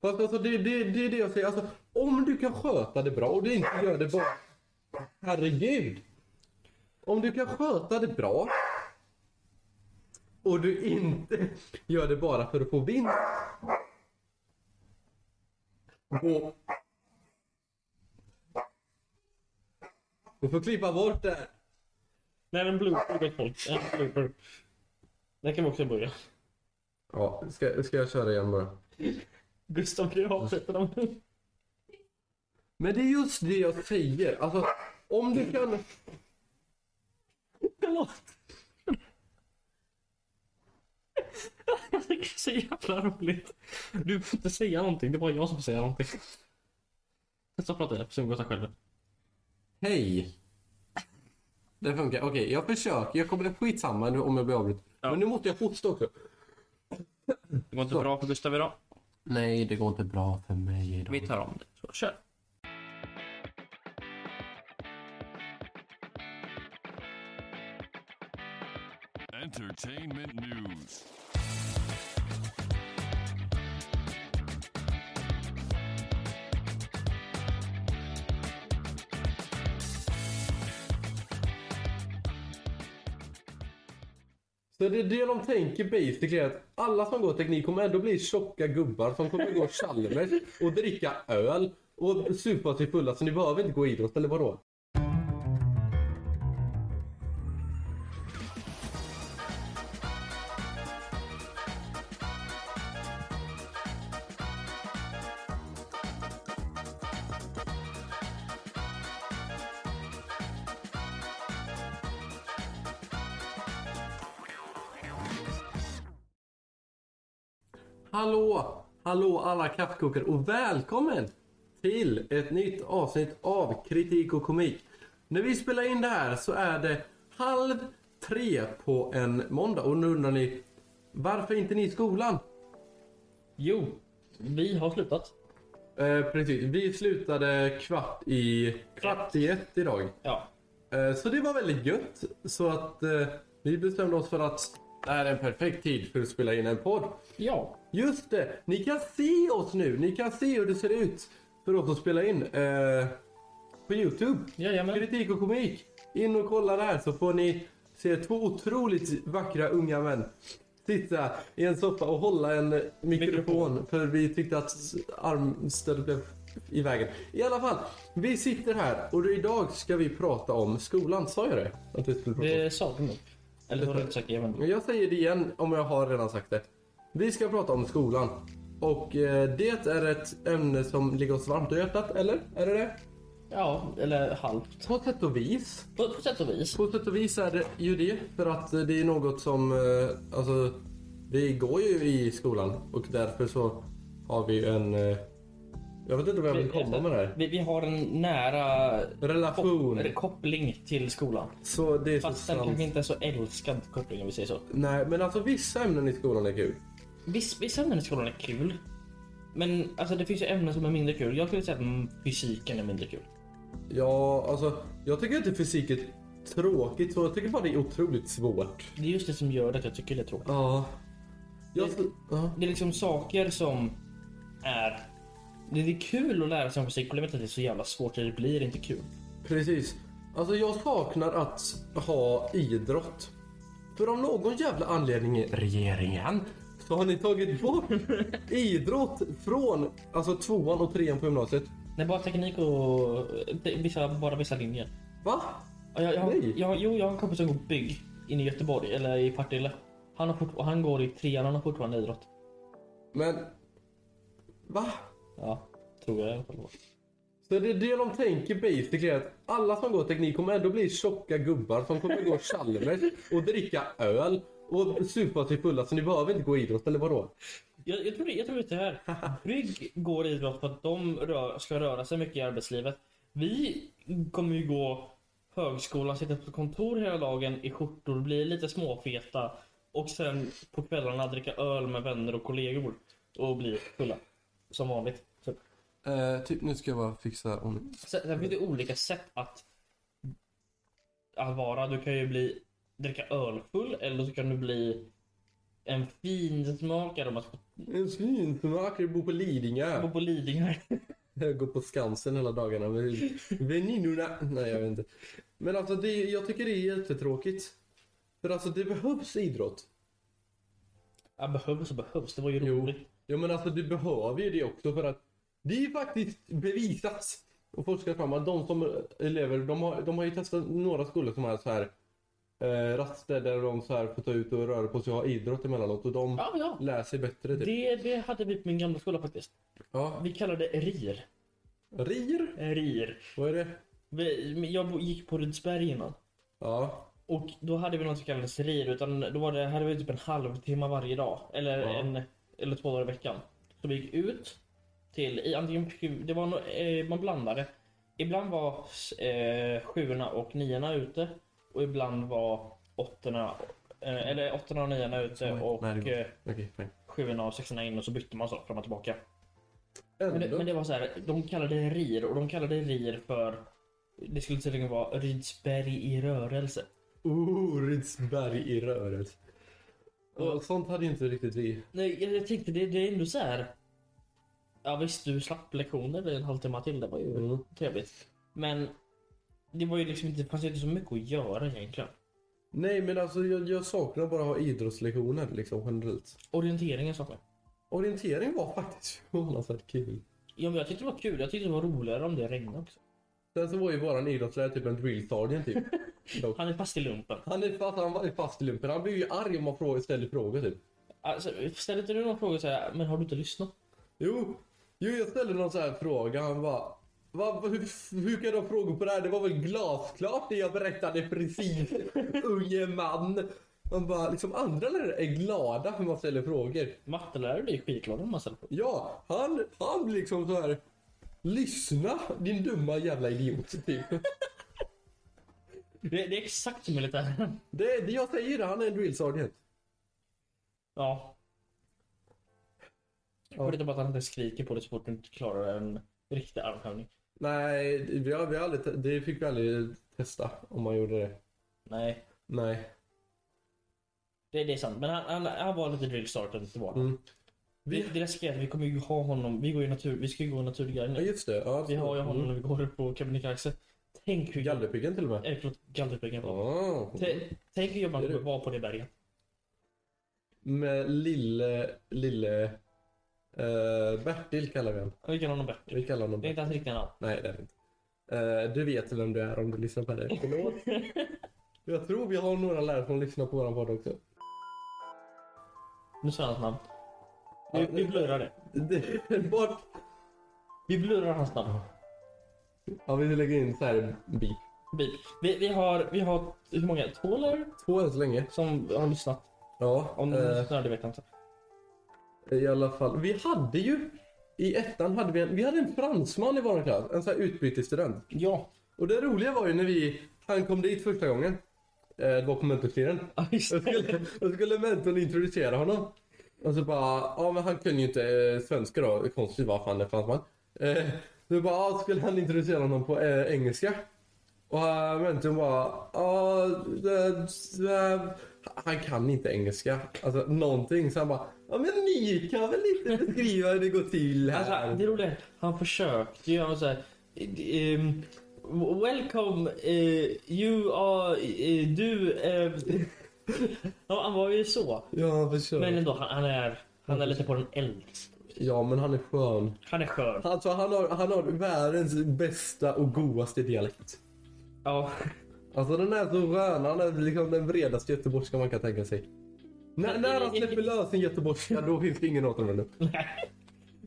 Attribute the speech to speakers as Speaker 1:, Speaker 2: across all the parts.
Speaker 1: Fast alltså det, det, det är det jag säger. Alltså, om du kan sköta det bra och du inte gör det bara... Herregud! Om du kan sköta det bra och du inte gör det bara för att få vinst. Gå... Du får klippa bort det här.
Speaker 2: Nej, en blooper gott folk. En blooper. Där kan vi också börja.
Speaker 1: Ja, ska, ska jag köra igen bara?
Speaker 2: Gustav blir avsätter dem.
Speaker 1: Men det är just det jag säger. Alltså, om du kan...
Speaker 2: Förlåt. Jag tycker det är så jävla roligt. Du får inte säga någonting. Det är bara jag som får säga någonting. Testa att prata i absolut Gustav själv.
Speaker 1: Hej! Det funkar. Okej, jag försöker. Jag kommer skitsamma nu om jag blir avbruten.
Speaker 2: Ja.
Speaker 1: Men nu måste jag hosta också.
Speaker 2: Det går inte bra för Gustav idag.
Speaker 1: Nej, det går inte bra för mig idag.
Speaker 2: Vi tar om det. Så, kör.
Speaker 3: Entertainment news.
Speaker 1: Så det är det de tänker basically att alla som går teknik kommer ändå bli tjocka gubbar som kommer gå Chalmers och dricka öl och supa sig fulla så ni behöver inte gå idrott eller vadå? Hallå! Hallå alla kaffekokare och välkommen till ett nytt avsnitt av Kritik och komik. När vi spelar in det här så är det halv tre på en måndag och nu undrar ni varför är inte ni i skolan?
Speaker 2: Jo, vi har slutat.
Speaker 1: Eh, precis, vi slutade kvart i, kvart i ett idag.
Speaker 2: Ja.
Speaker 1: Eh, Så det var väldigt gött. Så att eh, vi bestämde oss för att det här är en perfekt tid för att spela in en podd.
Speaker 2: Ja.
Speaker 1: Just det, ni kan se oss nu. Ni kan se hur det ser ut för oss att spela in eh, på Youtube.
Speaker 2: Jajamän.
Speaker 1: Kritik och komik. In och kolla där så får ni se två otroligt vackra unga män sitta i en soffa och hålla en mikrofon,
Speaker 2: Mikrofon.
Speaker 1: för vi tyckte att armstödet blev i vägen. I alla fall, vi sitter här och idag ska vi prata om skolan. Sa jag det? Att vi skulle prata om
Speaker 2: Det sa du nog. Eller har du inte sagt även?
Speaker 1: jag säger det igen om jag har redan sagt det. Vi ska prata om skolan. Och eh, det är ett ämne som ligger oss varmt i hjärtat, eller? Är det det?
Speaker 2: Ja, eller halvt.
Speaker 1: På sätt och vis.
Speaker 2: På, på sätt och vis.
Speaker 1: På sätt och vis är det ju det. För att eh, det är något som... eh, Alltså, vi går ju i skolan och därför så har vi ju en... eh, Jag vet inte vad jag vill komma med där.
Speaker 2: Vi, vi har en nära
Speaker 1: Relation.
Speaker 2: kop- koppling till skolan.
Speaker 1: Så det är så
Speaker 2: Fast den kanske
Speaker 1: sant.
Speaker 2: inte är så älskad koppling om vi säger så.
Speaker 1: Nej, men alltså vissa ämnen i skolan är kul.
Speaker 2: Viss, vissa ämnen i skolan är kul. Men alltså, det finns ju ämnen som är mindre kul. Jag skulle säga att mm, fysiken är mindre kul.
Speaker 1: Ja, alltså jag tycker inte fysik är tråkigt så jag tycker bara det är otroligt svårt.
Speaker 2: Det är just det som gör att jag tycker det är tråkigt.
Speaker 1: Ja. Jag,
Speaker 2: Det-
Speaker 1: ja.
Speaker 2: Det är liksom saker som är... Det är kul att lära sig om fysik. Problemet är att det är så jävla svårt. så Det blir inte kul.
Speaker 1: Precis. Alltså jag saknar att ha idrott. För om någon jävla anledning i regeringen så har ni tagit bort idrott från alltså tvåan och trean på gymnasiet.
Speaker 2: Det är bara teknik och det är vissa, bara vissa linjer.
Speaker 1: Va?
Speaker 2: Ja, Jag, jag,
Speaker 1: Nej.
Speaker 2: jag, jo, jag har en kompis som går bygg inne i Göteborg, eller i Partille. Han, har fort, han går i trean, han har fortfarande idrott.
Speaker 1: Men... Va?
Speaker 2: Ja, tror jag i alla fall.
Speaker 1: Så det är det de tänker basically att alla som går teknik kommer ändå bli tjocka gubbar som kommer gå Chalmers och dricka öl och supa sig fulla så ni behöver inte gå idrott eller vadå?
Speaker 2: Jag, jag, tror, det- jag tror det är så här. Bygg går i idrott för att de rör, ska röra sig mycket i arbetslivet. Vi kommer ju gå högskolan, sitta på kontor hela dagen i skjortor, bli lite småfeta och sen på kvällarna dricka öl med vänner och kollegor och bli fulla. Som vanligt. Typ.
Speaker 1: typ nu ska jag bara fixa om...
Speaker 2: Sen, sen finns det olika sätt att, att vara. Du kan ju bli dricka ölfull eller så kan du bli en fin smak av att
Speaker 1: En svin som aktivt bor på
Speaker 2: bo
Speaker 1: Lidingö.
Speaker 2: på Lidingö.
Speaker 1: Jag går på Skansen hela dagarna med väninnorna. Nej, jag vet inte. Men alltså, det, jag tycker det är jättetråkigt. För alltså, det behövs idrott.
Speaker 2: Ja, behövs och behövs. Det var ju
Speaker 1: Jo.
Speaker 2: roligt.
Speaker 1: Ja men alltså du behöver ju det också för att det är ju faktiskt bevisat och forskat fram att de som elever, de har, de har ju testat några skolor som är så här eh, raster där de så här får ta ut och röra på sig och ha idrott emellanåt och de
Speaker 2: Ja, ja.
Speaker 1: lär sig bättre typ.
Speaker 2: Det, det hade vi på min gamla skola faktiskt.
Speaker 1: Ja.
Speaker 2: Vi kallade det RIR. Eh,
Speaker 1: RIR?
Speaker 2: RIR.
Speaker 1: Vad är det?
Speaker 2: Vi, jag bo- gick på Rydsberg innan.
Speaker 1: Ja.
Speaker 2: Och då hade vi något som kallades RIR. Utan då var det, hade vi typ en halvtimme varje dag. Eller,
Speaker 1: Ja.
Speaker 2: en, eller två dagar i veckan. Så vi gick ut till, i, antingen fick vi- det var no, eh, man blandade. Ibland var eh, sjuorna och niorna ute. Och ibland var åttorna, eh, eller åttorna och niorna ute.
Speaker 1: Oj,
Speaker 2: Och
Speaker 1: nej, det går.
Speaker 2: eh,
Speaker 1: Okej, fine.
Speaker 2: sjuorna och sexorna in och så bytte man så fram och tillbaka. Men det,
Speaker 1: Ändå.
Speaker 2: men det var så här, de kallade det RIR och de kallade det RIR för det skulle tydligen vara Rydsberg i rörelse.
Speaker 1: Oh, Rydsberg i rörelse. Och sånt hade ju inte riktigt vi.
Speaker 2: Nej, jag, jag tänkte det, det är ändå så här. Ja visst, du slapp lektioner i en halvtimme till. Det var ju
Speaker 1: Mm.
Speaker 2: trevligt. Men det var ju liksom inte, det fanns ju inte så mycket att göra egentligen.
Speaker 1: Nej men alltså jag, jag saknar bara att ha idrottslektioner liksom generellt.
Speaker 2: Orienteringen saknade
Speaker 1: Orientering var faktiskt förvånansvärt kul.
Speaker 2: jag. men Jag tyckte det var kul. Jag tyckte det var roligare om det regnade också.
Speaker 1: Sen så var ju våran idrottslärare typ en drill sergeant typ. Dock.
Speaker 2: Han är fast i lumpen.
Speaker 1: Han, är fast, han var ju fast i lumpen. Han blir ju arg om man frågar, ställer frågor typ.
Speaker 2: Alltså, ställer inte du någon fråga så här, men har du inte lyssnat?
Speaker 1: Jo, jo jag ställde någon så här fråga. Han bara. Va, va- hur, hur kan du ha frågor på det här? Det var väl glasklart det jag berättade precis. Unge man. Man bara, liksom andra lärare är glada för man ställer frågor.
Speaker 2: Mattelärare blir ju skitglad om man ställer frågor.
Speaker 1: Ja, han, han blir liksom så här. Lyssna din dumma jävla idiot typ.
Speaker 2: Det, det är exakt som militären.
Speaker 1: Det, det jag säger det, han är en drill sergeant.
Speaker 2: Ja. Jag
Speaker 1: Ja.
Speaker 2: vet inte bara att han inte skriker på dig så fort du inte klarar en riktig armhävning.
Speaker 1: Nej, vi har, vi har aldrig, te- det fick vi aldrig testa om man gjorde det.
Speaker 2: Nej,
Speaker 1: Nej.
Speaker 2: det, det är sant. Men han, han, han var lite drillstartad till vardags.
Speaker 1: Mm.
Speaker 2: Vi, det läskiga är att vi kommer ju ha honom. Vi går ju natur, vi ska ju gå naturguide
Speaker 1: Ja,
Speaker 2: nu.
Speaker 1: just det. Ja,
Speaker 2: Vi har ju
Speaker 1: så-
Speaker 2: honom när vi går upp på Kebnekaise. Tänk hur...
Speaker 1: Gallerpiggen till och med.
Speaker 2: Eller förlåt, Gallerpiggen.
Speaker 1: Ah.
Speaker 2: T- Tänk hur jobbigt
Speaker 1: Det
Speaker 2: det
Speaker 1: är
Speaker 2: kommer vara på det berget.
Speaker 1: Med lille, lille... eh, Bertil kallar vi honom.
Speaker 2: Vi kan ha honom bättre.
Speaker 1: Vi kallar honom
Speaker 2: Det är
Speaker 1: Bertil.
Speaker 2: inte hans riktiga namn.
Speaker 1: Nej, det är det inte. Eh, du vet vem du är om du lyssnar på det. Förlåt. Jag tror vi har några lärare som lyssnar på våran podd också.
Speaker 2: Nu sa jag hans namn. Vi, vi blurrar det.
Speaker 1: Det- Bort!
Speaker 2: Vi blurrar hans namn.
Speaker 1: Ja, vi lägger in så här beep.
Speaker 2: Beep. Vi, vi, har, vi har hur många? Två lärare
Speaker 1: Två än så länge.
Speaker 2: som har lyssnat.
Speaker 1: Ja.
Speaker 2: Om de
Speaker 1: eh,
Speaker 2: lyssnar, det vet jag inte.
Speaker 1: I alla fall. Vi hade ju i ettan hade vi en, vi hade en fransman i vår klass. En sån här utbytesstudent.
Speaker 2: Ja.
Speaker 1: Och det roliga var ju när vi, han kom dit första gången. Eh, det var på mentorstiden.
Speaker 2: Ja, just
Speaker 1: Jag
Speaker 2: det.
Speaker 1: skulle, jag skulle mentorn introducera honom. Och så bara, ja men han kunde ju inte eh, svenska då. Konstigt varför han är fransman. Eh, så bara, ja, skulle han introducera honom på eh, engelska. Och eh, mentorn bara, ja, eh, eh, han kan inte engelska. Alltså någonting. Så han bara, ja men ni kan väl inte beskriva hur det går till
Speaker 2: Alltså,
Speaker 1: här.
Speaker 2: det roliga är att han försökte göra så här. ehm, welcome, eh, you are, eh, du... ehm." ja, han var ju så.
Speaker 1: Ja, han
Speaker 2: Men
Speaker 1: försöker.
Speaker 2: ändå, han, han, är, han är lite på den äldre.
Speaker 1: Ja, men han är skön.
Speaker 2: Han är skön.
Speaker 1: Alltså, han, har, han har världens bästa och godaste dialekt.
Speaker 2: Ja.
Speaker 1: Alltså den är så skön. Han är liksom den bredaste göteborgska man kan tänka sig. När, när han släpper lös en göteborgska då finns det ingen återvändo.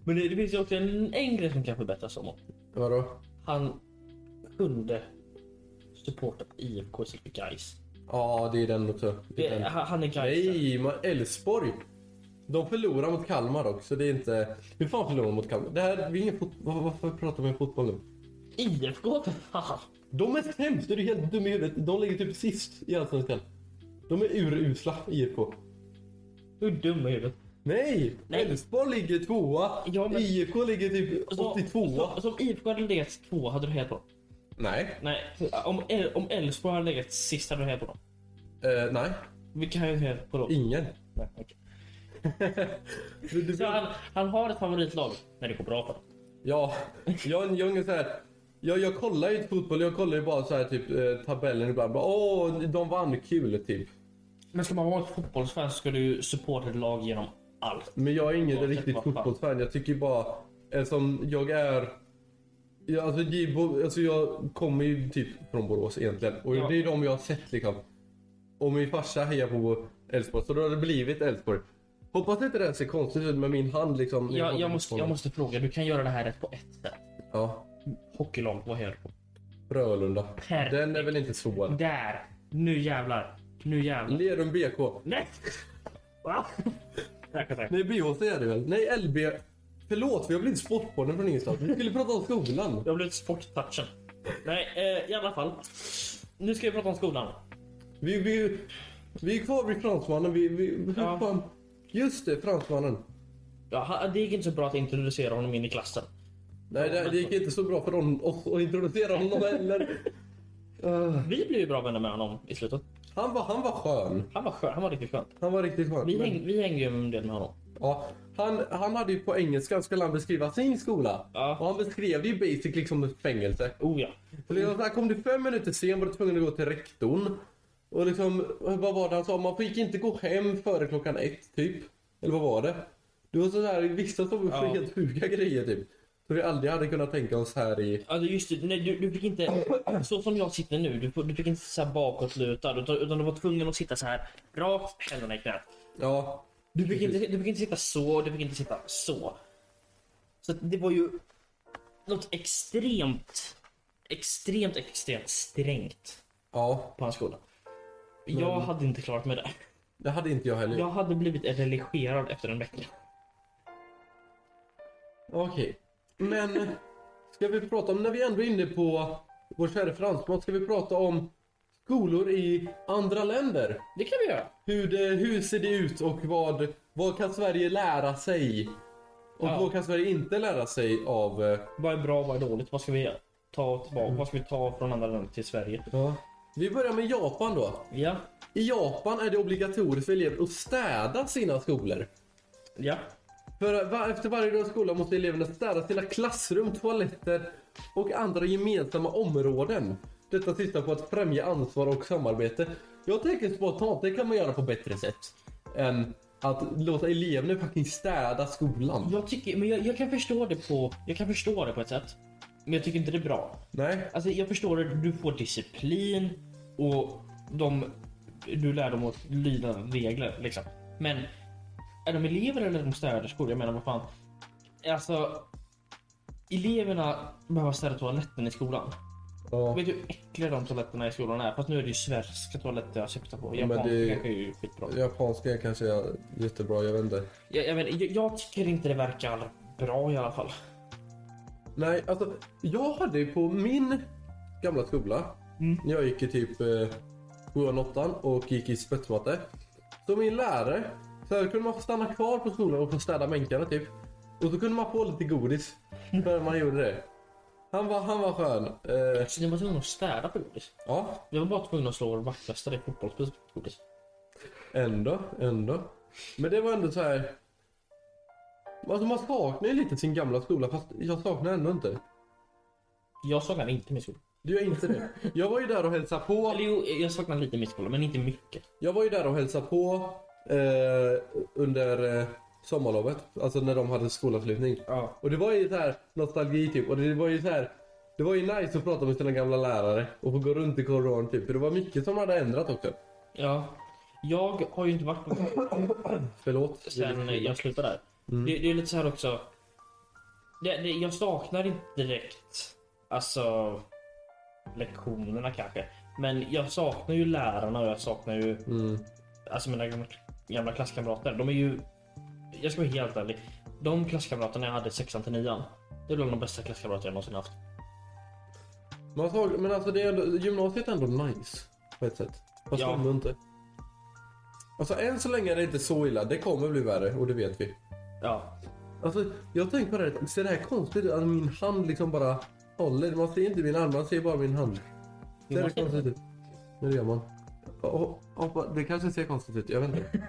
Speaker 2: Men det, det finns ju också en, en grej som kan förbättras om honom.
Speaker 1: Vadå?
Speaker 2: Han kunde supporta IFK istället för Gais.
Speaker 1: Ja, det är den också. Det
Speaker 2: Det-
Speaker 1: är den.
Speaker 2: Han han är Gais.
Speaker 1: Nej, man- Elfsborg. De förlorar mot Kalmar också. Det är inte... Hur fan förlorar de mot Kalmar? Det här, vi är ingen fot... var- Varför pratar vi om fotboll nu?
Speaker 2: IFK för fan.
Speaker 1: De är sämst! Är du helt dum i huvudet? De ligger typ sist i Allsvenskan. De är urusla, IFK.
Speaker 2: Du är dum i huvudet.
Speaker 1: Nej!
Speaker 2: Nej.
Speaker 1: Elfsborg ligger tvåa.
Speaker 2: Ja, men-
Speaker 1: IFK ligger typ
Speaker 2: Så-
Speaker 1: 82.
Speaker 2: så- Som IFK hade legat två hade du hejat på dem.
Speaker 1: Nej.
Speaker 2: Nej, om El- om Elfsborg hade legat sist hade du hejat på dem.
Speaker 1: Eh, nej,
Speaker 2: Vi kan ju inte heja på dem.
Speaker 1: ingen.
Speaker 2: Nej, okej.
Speaker 1: Du- du-
Speaker 2: Så han, han har ett favoritlag när det går bra för honom.
Speaker 1: Ja, jag, jag, är så här, jag, jag kollar ju inte fotboll, jag kollar ju bara så här, typ eh, tabellen ibland. Bara, Åh, de vann, kul typ.
Speaker 2: Men ska man vara ett fotbollsfan så ska du ju supporta ett lag genom allt.
Speaker 1: Men jag är ingen
Speaker 2: Oavsett
Speaker 1: riktigt
Speaker 2: vad fan.
Speaker 1: fotbollsfan. Jag tycker bara, eftersom jag är... Jag, alltså, Gibo, alltså jag kommer ju typ från Borås egentligen. Och
Speaker 2: Ja.
Speaker 1: det är de jag har sett liksom. Och min farsa hejar på Elfsborg, så då har det blivit Elfsborg. Hoppas inte det här ser konstigt ut med min hand liksom. när
Speaker 2: Jag,
Speaker 1: håller
Speaker 2: jag,
Speaker 1: på
Speaker 2: måste,
Speaker 1: den.
Speaker 2: jag måste fråga, du kan göra det här rätt på ett sätt.
Speaker 1: Ja,
Speaker 2: Hockeylag, vad heter det?
Speaker 1: Frölunda.
Speaker 2: Perfekt.
Speaker 1: Den är väl inte svår.
Speaker 2: Där! Nu jävlar. Nu jävlar.
Speaker 1: Lerum BK.
Speaker 2: Nej! Va? Tackar, tackar.
Speaker 1: Nej, BHC är det väl? Nej, LB. Förlåt, vi har blivit Sportpodden från ingenstans. Vi skulle prata om skolan.
Speaker 2: Jag har blivit sporttouchen. Nej, eh, i alla fall. Nu ska vi prata om skolan.
Speaker 1: Vi, vi, vi är kvar vid fransmannen. Vi, vi, hur
Speaker 2: Ja.
Speaker 1: fan? Just det, fransmannen.
Speaker 2: Ja, han- det gick inte så bra att introducera honom in i klassen.
Speaker 1: Nej, det, det gick inte så bra för hon oss att introducera honom heller. Eh,
Speaker 2: Vi blev ju bra vänner med honom i slutet.
Speaker 1: han, var, han var skön.
Speaker 2: Han var skön, han var riktigt skön.
Speaker 1: Han var riktigt skön.
Speaker 2: Vi,
Speaker 1: Men,
Speaker 2: häng, vi hängde ju en del med honom.
Speaker 1: ja, han, han hade ju på engelska skulle han beskriva sin skola.
Speaker 2: Ja.
Speaker 1: Och han beskrev det ju basically som ett fängelse.
Speaker 2: Oh ja.
Speaker 1: Så liksom, så här, kom du fem minuter sen var du tvungen att gå till rektorn. Och liksom, vad var det han sa? Man fick inte gå hem före klockan ett, typ. Eller vad var det? Det var så här, vissa som
Speaker 2: Ja.
Speaker 1: helt sjuka grejer, typ. Som vi aldrig hade kunnat tänka oss här i...
Speaker 2: Alltså just det, nej, du, du fick inte, så som jag sitter nu, du, får- du fick inte sitta så här bakåtlutad utan, utan du var tvungen att sitta så här rakt, händerna i knät.
Speaker 1: Ja.
Speaker 2: Du fick, inte, du fick inte sitta så, du fick inte sitta så. Så att det var ju något extremt, extremt, extremt strängt
Speaker 1: Ja.
Speaker 2: på hans skola. Jag hade inte klarat mig där.
Speaker 1: Det hade inte jag heller.
Speaker 2: Jag hade blivit religerad efter en vecka.
Speaker 1: Okej. Men ska vi prata om, när vi ändå är inne på vår kära fransman, ska vi prata om skolor i andra länder?
Speaker 2: Det kan vi göra.
Speaker 1: Hur, det, hur ser det ut och vad, vad kan Sverige lära sig? Och
Speaker 2: Ja.
Speaker 1: vad kan Sverige inte lära sig av... eh,
Speaker 2: Vad är bra, vad är dåligt? Vad ska vi ta tillbaka? Vad ska vi ta från andra länder till Sverige?
Speaker 1: Vi börjar med Japan då.
Speaker 2: Ja,
Speaker 1: I Japan är det obligatoriskt för elever att städa sina skolor.
Speaker 2: ja,
Speaker 1: För eh, va- efter varje dag i skolan måste eleverna städa sina klassrum, toaletter och andra gemensamma områden. Detta syftar på att främja ansvar och samarbete. Jag tänker spontant, det kan man göra på bättre sätt. Än att låta eleverna fucking städa skolan.
Speaker 2: Jag, tycker, men jag, jag, kan förstå det på, jag kan förstå det på ett sätt. Men jag tycker inte det är bra.
Speaker 1: Nej.
Speaker 2: Alltså jag förstår det, du får disciplin och de, du lär dem att lyda regler. Liksom. Men är de elever eller är de städerskor? Jag menar vad fan. Alltså, eleverna behöver städa toaletten i skolan.
Speaker 1: Ja.
Speaker 2: Vet du hur äckliga de toaletterna i skolan är? Fast nu är det ju svenska toaletter jag syftar på.
Speaker 1: Ja, men
Speaker 2: Japanska
Speaker 1: det-
Speaker 2: kanske är ju skitbra.
Speaker 1: Japanska kanske är jättebra, jag vet inte.
Speaker 2: Jag, jag, menar, jag, jag tycker inte det verkar bra i alla fall.
Speaker 1: Nej, alltså jag hade ju på min gamla skola.
Speaker 2: Mm.
Speaker 1: när Jag gick i typ eh, sjuan, åttan och gick i spetsmatte. Så min lärare, så här, kunde man stanna kvar på skolan och få städa bänkarna typ. Och så kunde man få lite godis när man gjorde det. Han var, han var skön. Eh,
Speaker 2: Så ni var tvungna att städa på godis?
Speaker 1: ja,
Speaker 2: Jag var bara tvungen att slå vår vaktmästare i fotbollsspis på godis.
Speaker 1: Ändå, ändå. Men det var ändå så här. Alltså man saknar ju lite sin gamla skola fast jag saknar ändå inte.
Speaker 2: Jag saknar inte min skola.
Speaker 1: Du gör inte det. Jag var ju där och hälsade på.
Speaker 2: Eller jo, jag saknar lite min skola, men inte mycket.
Speaker 1: Jag var ju där och hälsade på eh, under eh, sommarlovet. Alltså när de hade skolavslutning.
Speaker 2: Ja.
Speaker 1: Och det var ju så här nostalgi typ. Och det var ju så här. Det var ju nice att prata med sina gamla lärare och få gå runt i korridoren typ. För det var mycket som hade ändrat också.
Speaker 2: ja. Jag har ju inte varit på
Speaker 1: Förlåt.
Speaker 2: sen jag slutade där. Det, det är lite så här också. Det, det, jag saknar inte direkt alltså lektionerna kanske. Men jag saknar ju lärarna och jag saknar ju
Speaker 1: Mm.
Speaker 2: alltså mina gamla, gamla klasskamrater. De är ju... Jag ska vara helt ärlig. De klasskamraterna jag hade i sexan till nian. Det är bland de bästa klasskamrater jag någonsin haft.
Speaker 1: Man såg, men alltså det är ändå, gymnasiet är ändå nice på ett sätt. Fast
Speaker 2: Ja.
Speaker 1: ändå inte. Alltså än så länge är det inte så illa. Det kommer bli värre och det vet vi.
Speaker 2: Ja.
Speaker 1: Alltså jag har tänkt på det här. Ser det här konstigt ut? Att min hand liksom bara håller. Man ser inte min arm, man ser bara min hand. Ser det konstigt ut? Nu gör man. Oh, oh, det kanske ser konstigt ut, jag vet inte. det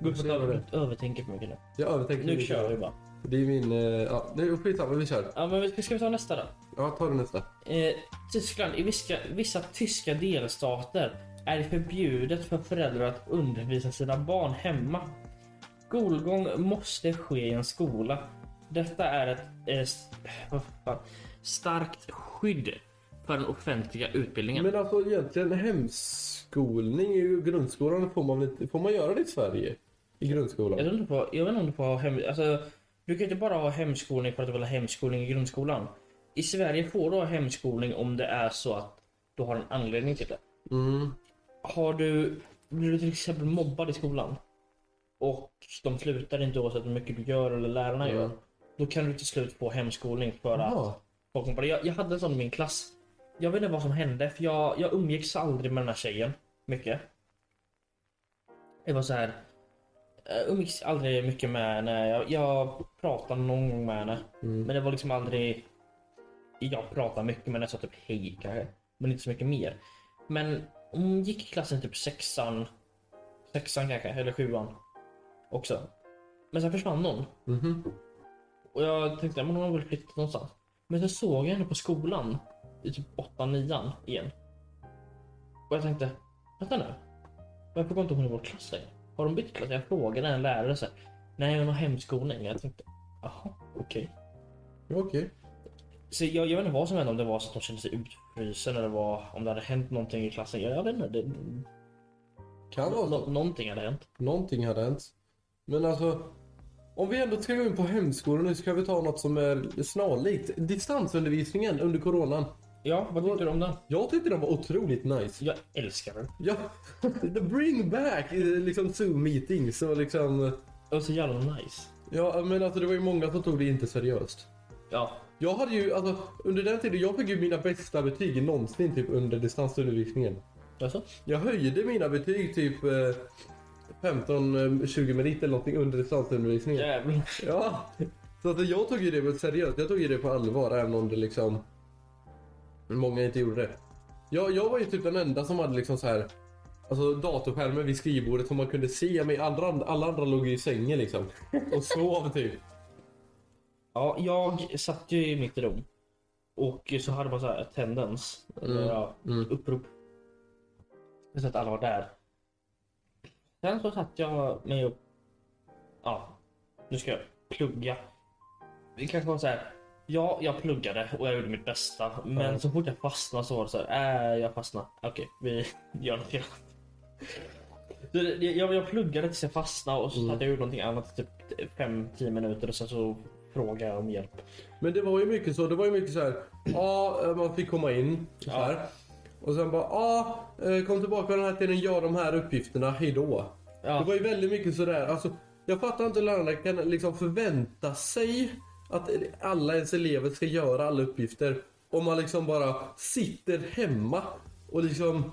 Speaker 1: var
Speaker 2: Gustav,
Speaker 1: det.
Speaker 2: du övertänker för mycket nu.
Speaker 1: Jag övertänker
Speaker 2: Nu
Speaker 1: lite.
Speaker 2: kör vi bara.
Speaker 1: Det är min... eh, Ja, nu skitsamma, vi kör.
Speaker 2: Ja, men vi ska- ska vi ta nästa då?
Speaker 1: Ja, ta det nästa.
Speaker 2: Eh, Tyskland, i vissa, vissa tyska delstater är det förbjudet för föräldrar att undervisa sina barn hemma. Skolgång måste ske i en skola. Detta är ett eh, s- vad fan, starkt skydd för den offentliga utbildningen.
Speaker 1: Men alltså egentligen hemskolning i grundskolan får man, väl inte- får man göra det i Sverige? I
Speaker 2: Jag,
Speaker 1: grundskolan?
Speaker 2: vet inte på, jag vet inte om du får ha hem, alltså, Du kan inte bara ha hemskolning för att du vill ha hemskolning i grundskolan. I Sverige får du ha hemskolning om det är så att du har en anledning till det.
Speaker 1: Mm.
Speaker 2: Har du, blir du till exempel mobbad i skolan och de slutar inte oavsett hur mycket du gör eller lärarna
Speaker 1: Ja.
Speaker 2: gör. Då kan du till slut få hemskolning för att
Speaker 1: Jaha.
Speaker 2: folk mobbade. Jag, jag hade en sån i min klass. Jag vet inte vad som hände för jag, jag umgicks aldrig med den här tjejen mycket. Det var så här. Jag umgicks aldrig mycket med henne. Jag, jag pratade någon gång med henne.
Speaker 1: Mm.
Speaker 2: Men det var liksom aldrig... Jag pratade mycket men jag sa typ hej kanske. Men inte så mycket mer. Men hon gick i klassen typ sexan. Sexan kanske, eller sjuan. Också. Men sen försvann hon.
Speaker 1: Mhm.
Speaker 2: Och jag tänkte men hon har väl flyttat någonstans. Men sen såg jag henne på skolan. I typ 8 nian igen. Och jag tänkte, vänta nu. Varför går inte hon i vår klass längre? Har de bytt klass? Jag frågade en lärare så här. Nej hon har hemskolning. Jag tänkte, jaha okej.
Speaker 1: Ja, Okej.
Speaker 2: Så jag, jag vet inte vad som hände, om det var så att de kände sig utfrysen eller vad, om det hade hänt någonting i klassen. Jag, jag vet inte. Det,
Speaker 1: Kan vara
Speaker 2: nå-
Speaker 1: så.
Speaker 2: någonting hade hänt.
Speaker 1: Någonting hade hänt. Men alltså. Om vi ändå ska gå in på hemskolan nu så kan vi ta något som är snarlikt. Distansundervisningen under coronan.
Speaker 2: Ja, vad tyckte du om den?
Speaker 1: Jag tyckte den var otroligt nice.
Speaker 2: Jag älskar den.
Speaker 1: Ja, the bring back eh, liksom zoom meetings och liksom.
Speaker 2: Det var så jävla nice.
Speaker 1: Ja men alltså det var ju många som tog det inte seriöst.
Speaker 2: Ja,
Speaker 1: Jag hade ju, alltså under den tiden, jag fick ju mina bästa betyg någonsin typ under distansundervisningen.
Speaker 2: alltså.
Speaker 1: Jag höjde mina betyg typ eh, 15-20 meriter eller någonting under distansundervisningen.
Speaker 2: Jävlar.
Speaker 1: Ja. Så alltså, jag tog ju det på seriöst, jag tog ju det på allvar även om det liksom Många inte gjorde det. Jag, jag var ju typ den enda som hade liksom så här Alltså datorskärmen vid skrivbordet som man kunde se men alla, andra- alla andra låg ju i sängen liksom. Och sov typ.
Speaker 2: Ja, jag satt ju i mitt rum. Och så hade man så här attendance. Eller
Speaker 1: Mm,
Speaker 2: ja,
Speaker 1: mm.
Speaker 2: upprop. Så att alla var där. Sen så satt jag mig upp. Ja, nu ska jag plugga. Det kanske var så här. Ja, jag pluggade och jag gjorde mitt bästa. Men
Speaker 1: Ja.
Speaker 2: så fort jag fastnade så var det så här. Äh, jag fastnade. Okej, vi gör något annat. Så det- det- Jag, jag pluggade tills jag fastnade och så
Speaker 1: Mm.
Speaker 2: satt jag och gjorde någonting annat i typ 5-10 minuter och sen så frågade jag om hjälp.
Speaker 1: Men det var ju mycket så. Det var ju mycket så här. Ja, eh, man fick komma in. Så här. Och sen bara, ja, eh, kom tillbaka den här tiden, gör de här uppgifterna, hejdå. Det
Speaker 2: Ja,
Speaker 1: var ju väldigt mycket sådär. Alltså, jag fattar inte hur lärarna kan liksom förvänta sig att alla ens elever ska göra alla uppgifter. Om man liksom bara sitter hemma och liksom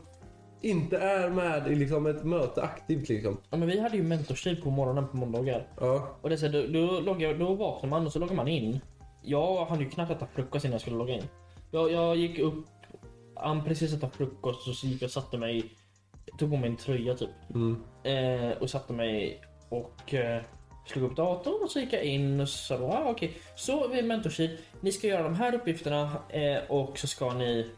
Speaker 1: inte är med i liksom ett möte aktivt liksom.
Speaker 2: ja, men vi hade ju mentorstid på morgonen på måndagar.
Speaker 1: Ja.
Speaker 2: Och det är så här, då, då, loggar, då vaknar man och så loggar man in. Jag hann ju knappt äta frukost innan jag skulle logga in. Jag, jag gick upp, hann precis äta frukost och så gick jag och satte mig. Tog på mig en tröja typ.
Speaker 1: Mm.
Speaker 2: Eh, och satte mig och eh, slog upp datorn och så gick jag in och så sa de, ah, okej, så vi är mentorship. Ni ska göra de här uppgifterna eh, och så ska ni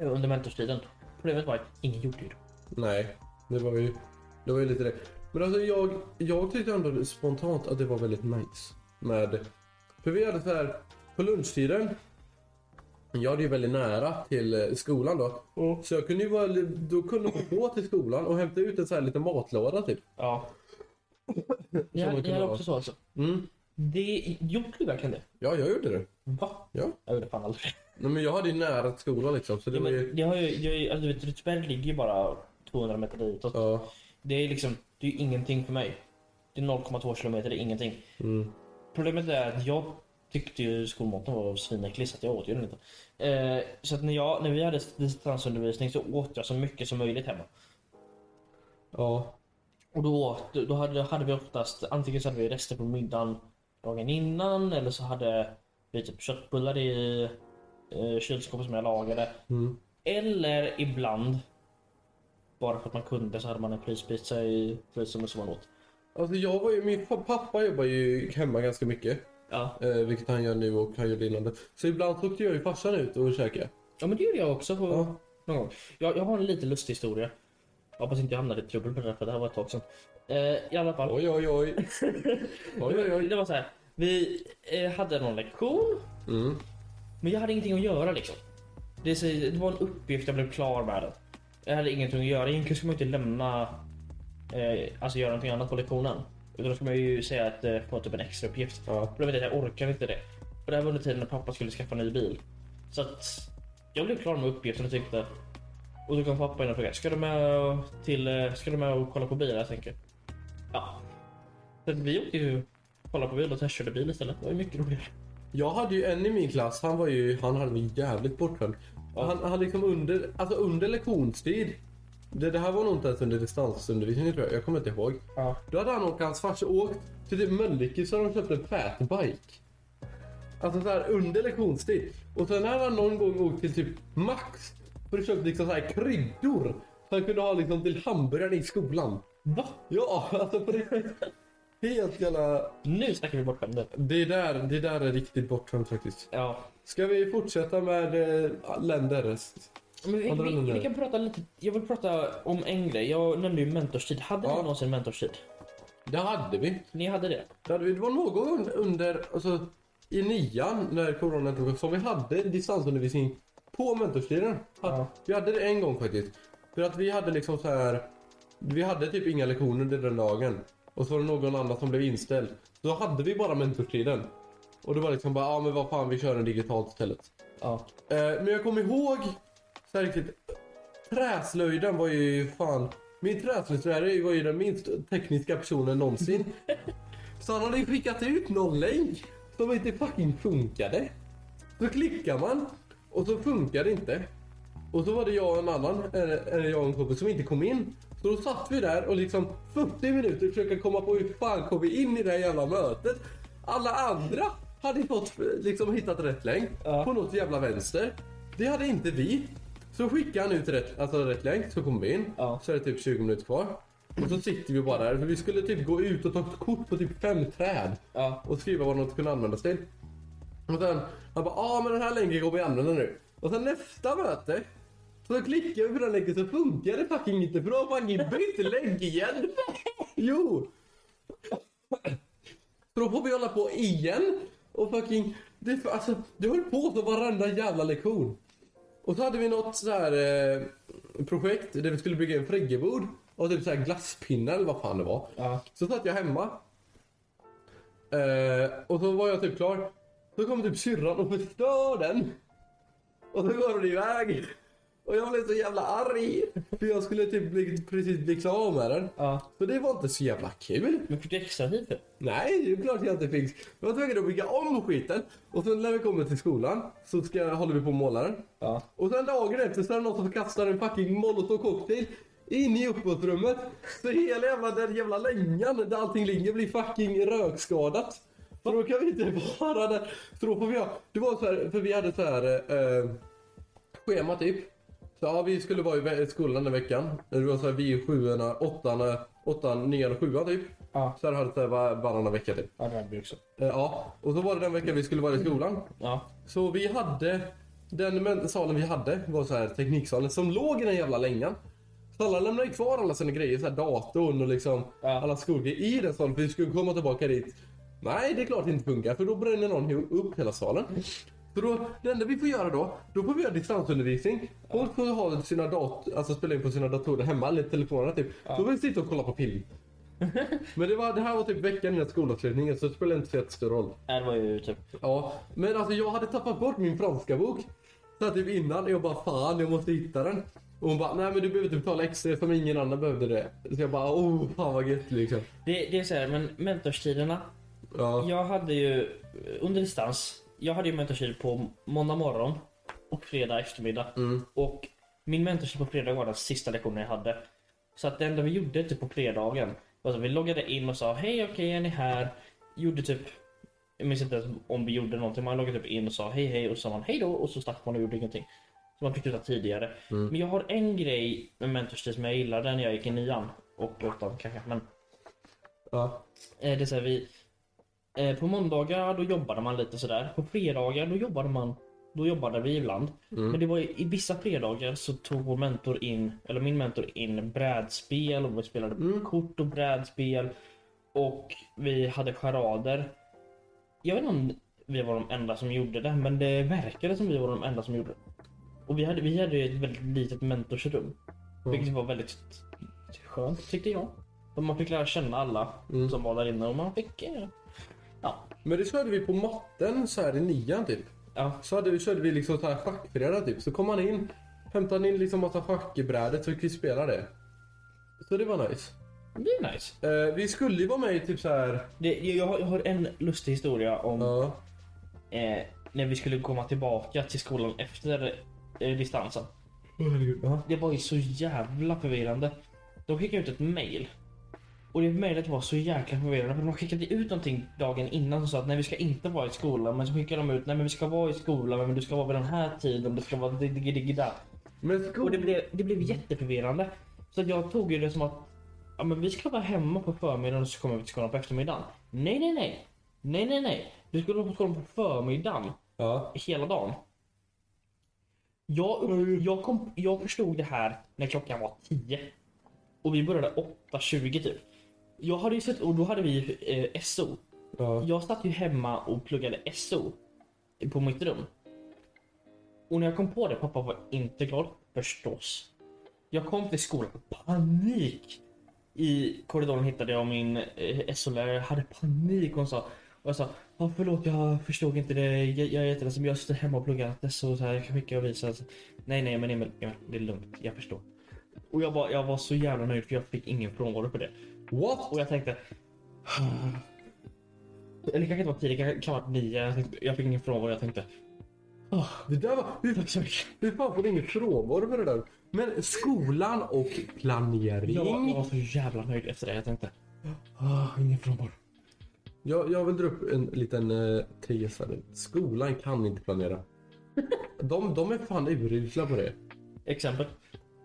Speaker 2: eh, under mentorstiden. Problemet var att ingen gjorde ju det.
Speaker 1: Nej, det var ju, det var ju lite det. Men alltså jag, jag tyckte ändå spontant att det var väldigt nice. Med, för vi hade så här, på lunchtiden. Jag hade ju väldigt nära till eh, skolan då. Så jag kunde ju bara, då kunde man gå till skolan och hämta ut en så här liten matlåda typ.
Speaker 2: Ja. Ni
Speaker 1: Som
Speaker 2: hade,
Speaker 1: man
Speaker 2: ni
Speaker 1: kunde
Speaker 2: hade
Speaker 1: ha.
Speaker 2: också så alltså.
Speaker 1: Mm.
Speaker 2: Det, gjorde du verkligen det?
Speaker 1: Ja, jag gjorde det.
Speaker 2: Va?
Speaker 1: Ja.
Speaker 2: Jag gjorde fan aldrig.
Speaker 1: Nej, men jag hade ju nära till skolan liksom. Så det
Speaker 2: Ja,
Speaker 1: var
Speaker 2: men
Speaker 1: ju,
Speaker 2: det har ju, jag, är- alltså, du vet, Rydsberg ligger ju bara 200 meter ditåt.
Speaker 1: ja.
Speaker 2: Det är liksom, det är ju ingenting för mig. Det är 0,2 kilometer, det är ingenting.
Speaker 1: Mm.
Speaker 2: Problemet är att jag tyckte ju skolmaten var svinäcklig så att jag åt ju den inte. Eh, så att när, jag, när vi hade distansundervisning så åt jag så mycket som möjligt hemma.
Speaker 1: Ja.
Speaker 2: Och då, åt, då hade, hade vi oftast antingen så hade vi rester på middagen dagen innan eller så hade vi typ köttbullar i eh, kylskåpet som jag lagade.
Speaker 1: Mm.
Speaker 2: Eller ibland bara för att man kunde så hade man en prispizza i priset som man åt.
Speaker 1: Alltså jag var ju, min fa- pappa jobbar ju hemma ganska mycket.
Speaker 2: Ja.
Speaker 1: Eh, vilket han gör nu och han gjorde innan det. Så ibland så åkte jag ju farsan ut och käkade.
Speaker 2: ja, men det gjorde jag också på
Speaker 1: Ja.
Speaker 2: någon gång. Jag, jag har en lite lustig historia. Jag hoppas inte jag hamnade i trubbel med det här, för det här var ett tag sedan. Eh, I alla fall.
Speaker 1: Oj, oj, oj. oj, oj, oj.
Speaker 2: Det var så här. Vi eh, hade någon lektion,
Speaker 1: Mm.
Speaker 2: men jag hade ingenting att göra liksom. Det, är så- det var en uppgift jag blev klar med. Den. Jag hade ingenting att göra. Egentligen skulle man inte lämna, eh, alltså göra någonting annat på lektionen. Utan då skulle man ju säga att eh, få typ en extra uppgift.
Speaker 1: Ja.
Speaker 2: Problemet är att jag orkade inte det. Och det här var under tiden när pappa skulle skaffa en ny bil. Så att jag blev klar med uppgiften och tyckte... Och då kom pappa in och frågade, ska du med och- till... eh, Ska du med och kolla på bilar? Jag tänker, ja. Så att vi åkte ju och kollade på bil och testkörde bil istället. Det var ju mycket roligare.
Speaker 1: Jag hade ju en i min klass, han var ju, han hade mig jävligt bortskämd.
Speaker 2: Ja.
Speaker 1: Han, han liksom under, alltså under lektionstid. Det, det här var nog inte ens under distansundervisningen tror jag, jag kommer inte ihåg.
Speaker 2: Ja.
Speaker 1: Då hade han och hans farsa åkt till typ Mölnlycke så hade de köpt en fatbike. Alltså så här under lektionstid. Och sen hade han någon gång åkt till typ Max för att köpa liksom så här kryddor. Så han kunde ha liksom till hamburgaren i skolan.
Speaker 2: Va?
Speaker 1: Ja, alltså på riktigt. Helt jävla...
Speaker 2: Nu snackar vi typ. bortskämdhet.
Speaker 1: Det där, det där är riktigt bortskämt faktiskt.
Speaker 2: Ja.
Speaker 1: Ska vi fortsätta med eh, länder?
Speaker 2: Men vi,
Speaker 1: Andra
Speaker 2: vi,
Speaker 1: länder.
Speaker 2: vi kan prata lite... Jag vill prata om en grej. Jag nämnde ju mentorstid. Hade
Speaker 1: Ja.
Speaker 2: ni någonsin mentorstid?
Speaker 1: Det hade vi.
Speaker 2: Ni hade det?
Speaker 1: Det, hade vi. det var någon gång under, alltså, i nian när coronan tog som vi hade distansundervisning på mentorstiden.
Speaker 2: Ja.
Speaker 1: Vi hade det en gång faktiskt. För att vi hade liksom så här, vi hade typ inga lektioner under den dagen. Och så var det någon annan som blev inställd. Då hade vi bara mentorstiden. Och det var liksom bara, ja ah, men vad fan vi kör den digitalt istället.
Speaker 2: Ja.
Speaker 1: Eh, men jag kommer ihåg så här riktigt. Träslöjden var ju fan. Min träslöjdslärare var ju den minst tekniska personen någonsin. så han hade ju skickat ut någon länk som inte fucking funkade. Så klickar man och så funkar det inte. Och så var det jag och en annan, eller eller jag och en kompis som inte kom in. Så då satt vi där och liksom 40 minuter försökte komma på hur fan kom vi in i det här jävla mötet. Alla andra hade ju fått liksom hittat rätt länk
Speaker 2: Ja.
Speaker 1: på något jävla vänster. Det hade inte vi. Så skickade han ut rätt, alltså rätt länk så kom vi in.
Speaker 2: Ja.
Speaker 1: Så är det typ 20 minuter kvar. Och så sitter vi bara där för vi skulle typ gå ut och ta ett kort på typ fem träd
Speaker 2: Ja.
Speaker 1: och skriva vad något kunde användas till. Och sen, han bara, ja ah, men den här länken kommer vi använda nu. Och sen nästa möte, så klickar vi på den länken så funkar det fucking inte för då har fucking bytt länk igen. Jo! Så då får vi hålla på igen och fucking, det, alltså det höll på så varenda jävla lektion. Och så hade vi något så här eh, projekt där vi skulle bygga en friggebod och typ så här glasspinnar eller vad fan det var.
Speaker 2: Ja.
Speaker 1: Så satt jag hemma. Eh, och så var jag typ klar. Så kom typ syrran och förstör den. Och så går den iväg. Och jag blev så jävla arg. För jag skulle typ bli, precis bli klar med den.
Speaker 2: ja.
Speaker 1: Så det var inte så jävla kul.
Speaker 2: Men fick du extra tid typ? för det?
Speaker 1: Nej, det är klart jag inte fick. Jag var tvungen att bygga om skiten. Och sen när vi kommer till skolan så ska, håller vi på och målar den.
Speaker 2: Ja.
Speaker 1: Och sen dagen efter så är det någon som kastar en fucking molotovcocktail in i uppåtrummet. Så hela jävla den jävla längan där allting ligger blir fucking rökskadat. Så då kan vi inte vara där. Så då får vi ha, det var så här, för vi hade så här eh, schema typ. Så ja, vi skulle vara i vä- skolan den veckan. Det var så här vi sjuorna, åttan, eh, åttan, nian och sjuan typ.
Speaker 2: Ja.
Speaker 1: Så här hade det så här var- varannan vecka typ.
Speaker 2: Ja, det hade vi också.
Speaker 1: Eh, ja, och så var det den veckan vi skulle vara i skolan.
Speaker 2: Ja.
Speaker 1: Så vi hade, den men- salen vi hade var så här tekniksalen som låg i den jävla längan. Så alla lämnade kvar alla sina grejer, så här datorn och liksom
Speaker 2: Ja.
Speaker 1: alla skolgrejer i den salen för vi skulle komma tillbaka dit. Nej, det är klart det inte funkar för då bränner någon hu- upp hela salen. Så då, det enda vi får göra då, då får vi göra distansundervisning. Folk får ha sina dat- alltså spela in på sina datorer hemma eller telefonerna typ. Då får vi sitta och kolla på film. Men det, var, det här var typ veckan innan skolavslutningen så det spelar inte så jättestor roll.
Speaker 2: Nej, Det var ju typ...
Speaker 1: Ja, men alltså jag hade tappat bort min franska bok. Så här typ innan, jag bara fan jag måste hitta den. Och hon bara, nej men du behöver inte betala extra som ingen annan behövde det. Så jag bara, oh fan vad gött liksom.
Speaker 2: Det, det är så här, men mentorstiderna.
Speaker 1: Ja.
Speaker 2: Jag hade ju eh, under distans. Jag hade ju mentorstid på måndag morgon och fredag eftermiddag.
Speaker 1: mm,
Speaker 2: Och min mentorstid på fredag var den sista lektionen jag hade. Så att det enda vi gjorde typ på fredagen var att vi loggade in och sa hej okej är ni här? Gjorde typ jag minns inte ens om vi gjorde någonting. Man loggade typ in och sa hej hej och så sa man hej då och så stack man och gjorde ingenting. man fick sluta tidigare. Men jag har en grej med mentorstid som jag gillade när jag gick i nian och åttan kanske. Men
Speaker 1: Ja.
Speaker 2: eh, det säger vi. Eh, på måndagar då jobbade man lite sådär. På fredagar då jobbade man. Då jobbade vi ibland.
Speaker 1: mm.
Speaker 2: Men det var i, i vissa fredagar så tog vår mentor in, eller min mentor in brädspel och vi spelade kort och brädspel. Och vi hade charader. Jag vet inte om vi var de enda som gjorde det, men det verkade som vi var de enda som gjorde det. Och vi hade, vi hade ju ett väldigt litet mentorsrum. Vilket var väldigt skönt tyckte jag. Och man fick lära känna alla som var där inne och man fick... eh, Ja.
Speaker 1: Men det körde vi på matten så här i nian typ.
Speaker 2: ja.
Speaker 1: Så hade vi, körde vi liksom så här schackbräda typ. Så kom han in, hämtade han in liksom massa schackbrädor så fick vi spela det. Så det var nice.
Speaker 2: Det är nice.
Speaker 1: Eh, vi skulle ju vara med i typ så här.
Speaker 2: Det, jag, har- jag har en lustig historia om
Speaker 1: Ja.
Speaker 2: eh, när vi skulle komma tillbaka till skolan efter eh, distansen.
Speaker 1: Ja.
Speaker 2: Det var ju så jävla förvirrande. De skickade ut ett mail. Och det mejlet var så jäkla förvirrande för de skickade ut någonting dagen innan som sa att nej vi ska inte vara i skolan men så skickade de ut nej men vi ska vara i skolan men du ska vara vid den här tiden du ska vara diggi-diggi-da.
Speaker 1: Men
Speaker 2: Och det
Speaker 1: skolan...
Speaker 2: blev, det blev jätteförvirrande. Så att jag tog ju det som att ja, men vi ska vara hemma på förmiddagen och så kommer vi till skolan på eftermiddagen. Nej, nej, nej. Nej, nej, nej. Du skulle vara på skolan på förmiddagen
Speaker 1: Ja.
Speaker 2: hela dagen. Jag, jag, kom, jag förstod det här när klockan var 10. Och vi började 8.20 typ. Jag hade ju sett, och då hade vi eh, SO.
Speaker 1: Ja.
Speaker 2: Jag satt ju hemma och pluggade SO på mitt rum. Och när jag kom på det, pappa var inte glad förstås. Jag kom till skolan, panik! I korridoren hittade jag min eh, SO-lärare, jag hade panik. Hon sa, och jag sa, oh, förlåt jag förstod inte det, jag, jag är jätteledsen men jag sitter hemma och pluggar SO så här, jag kan skicka och visa. Nej nej men Emil, Emil, det är lugnt, jag förstår. Och jag var, jag var så jävla nöjd för jag fick ingen frånvaro på det.
Speaker 1: What?
Speaker 2: Och jag tänkte... Eller det kanske inte var tio, det kanske kan ha varit nio. Jag, tänkte, jag fick ingen frånvaro. Jag tänkte... "Åh,
Speaker 1: Det där var... Hur,
Speaker 2: tack så mycket.
Speaker 1: hur fan får du ingen frånvaro med det där? Men skolan och planering.
Speaker 2: Jag, var- jag var så jävla nöjd efter det. Jag tänkte... "Åh, ingen frånvaro.
Speaker 1: Jag, jag vill dra upp en liten eh, tes här nu. Skolan kan inte planera. De, de är fan urusla på det.
Speaker 2: Exempel.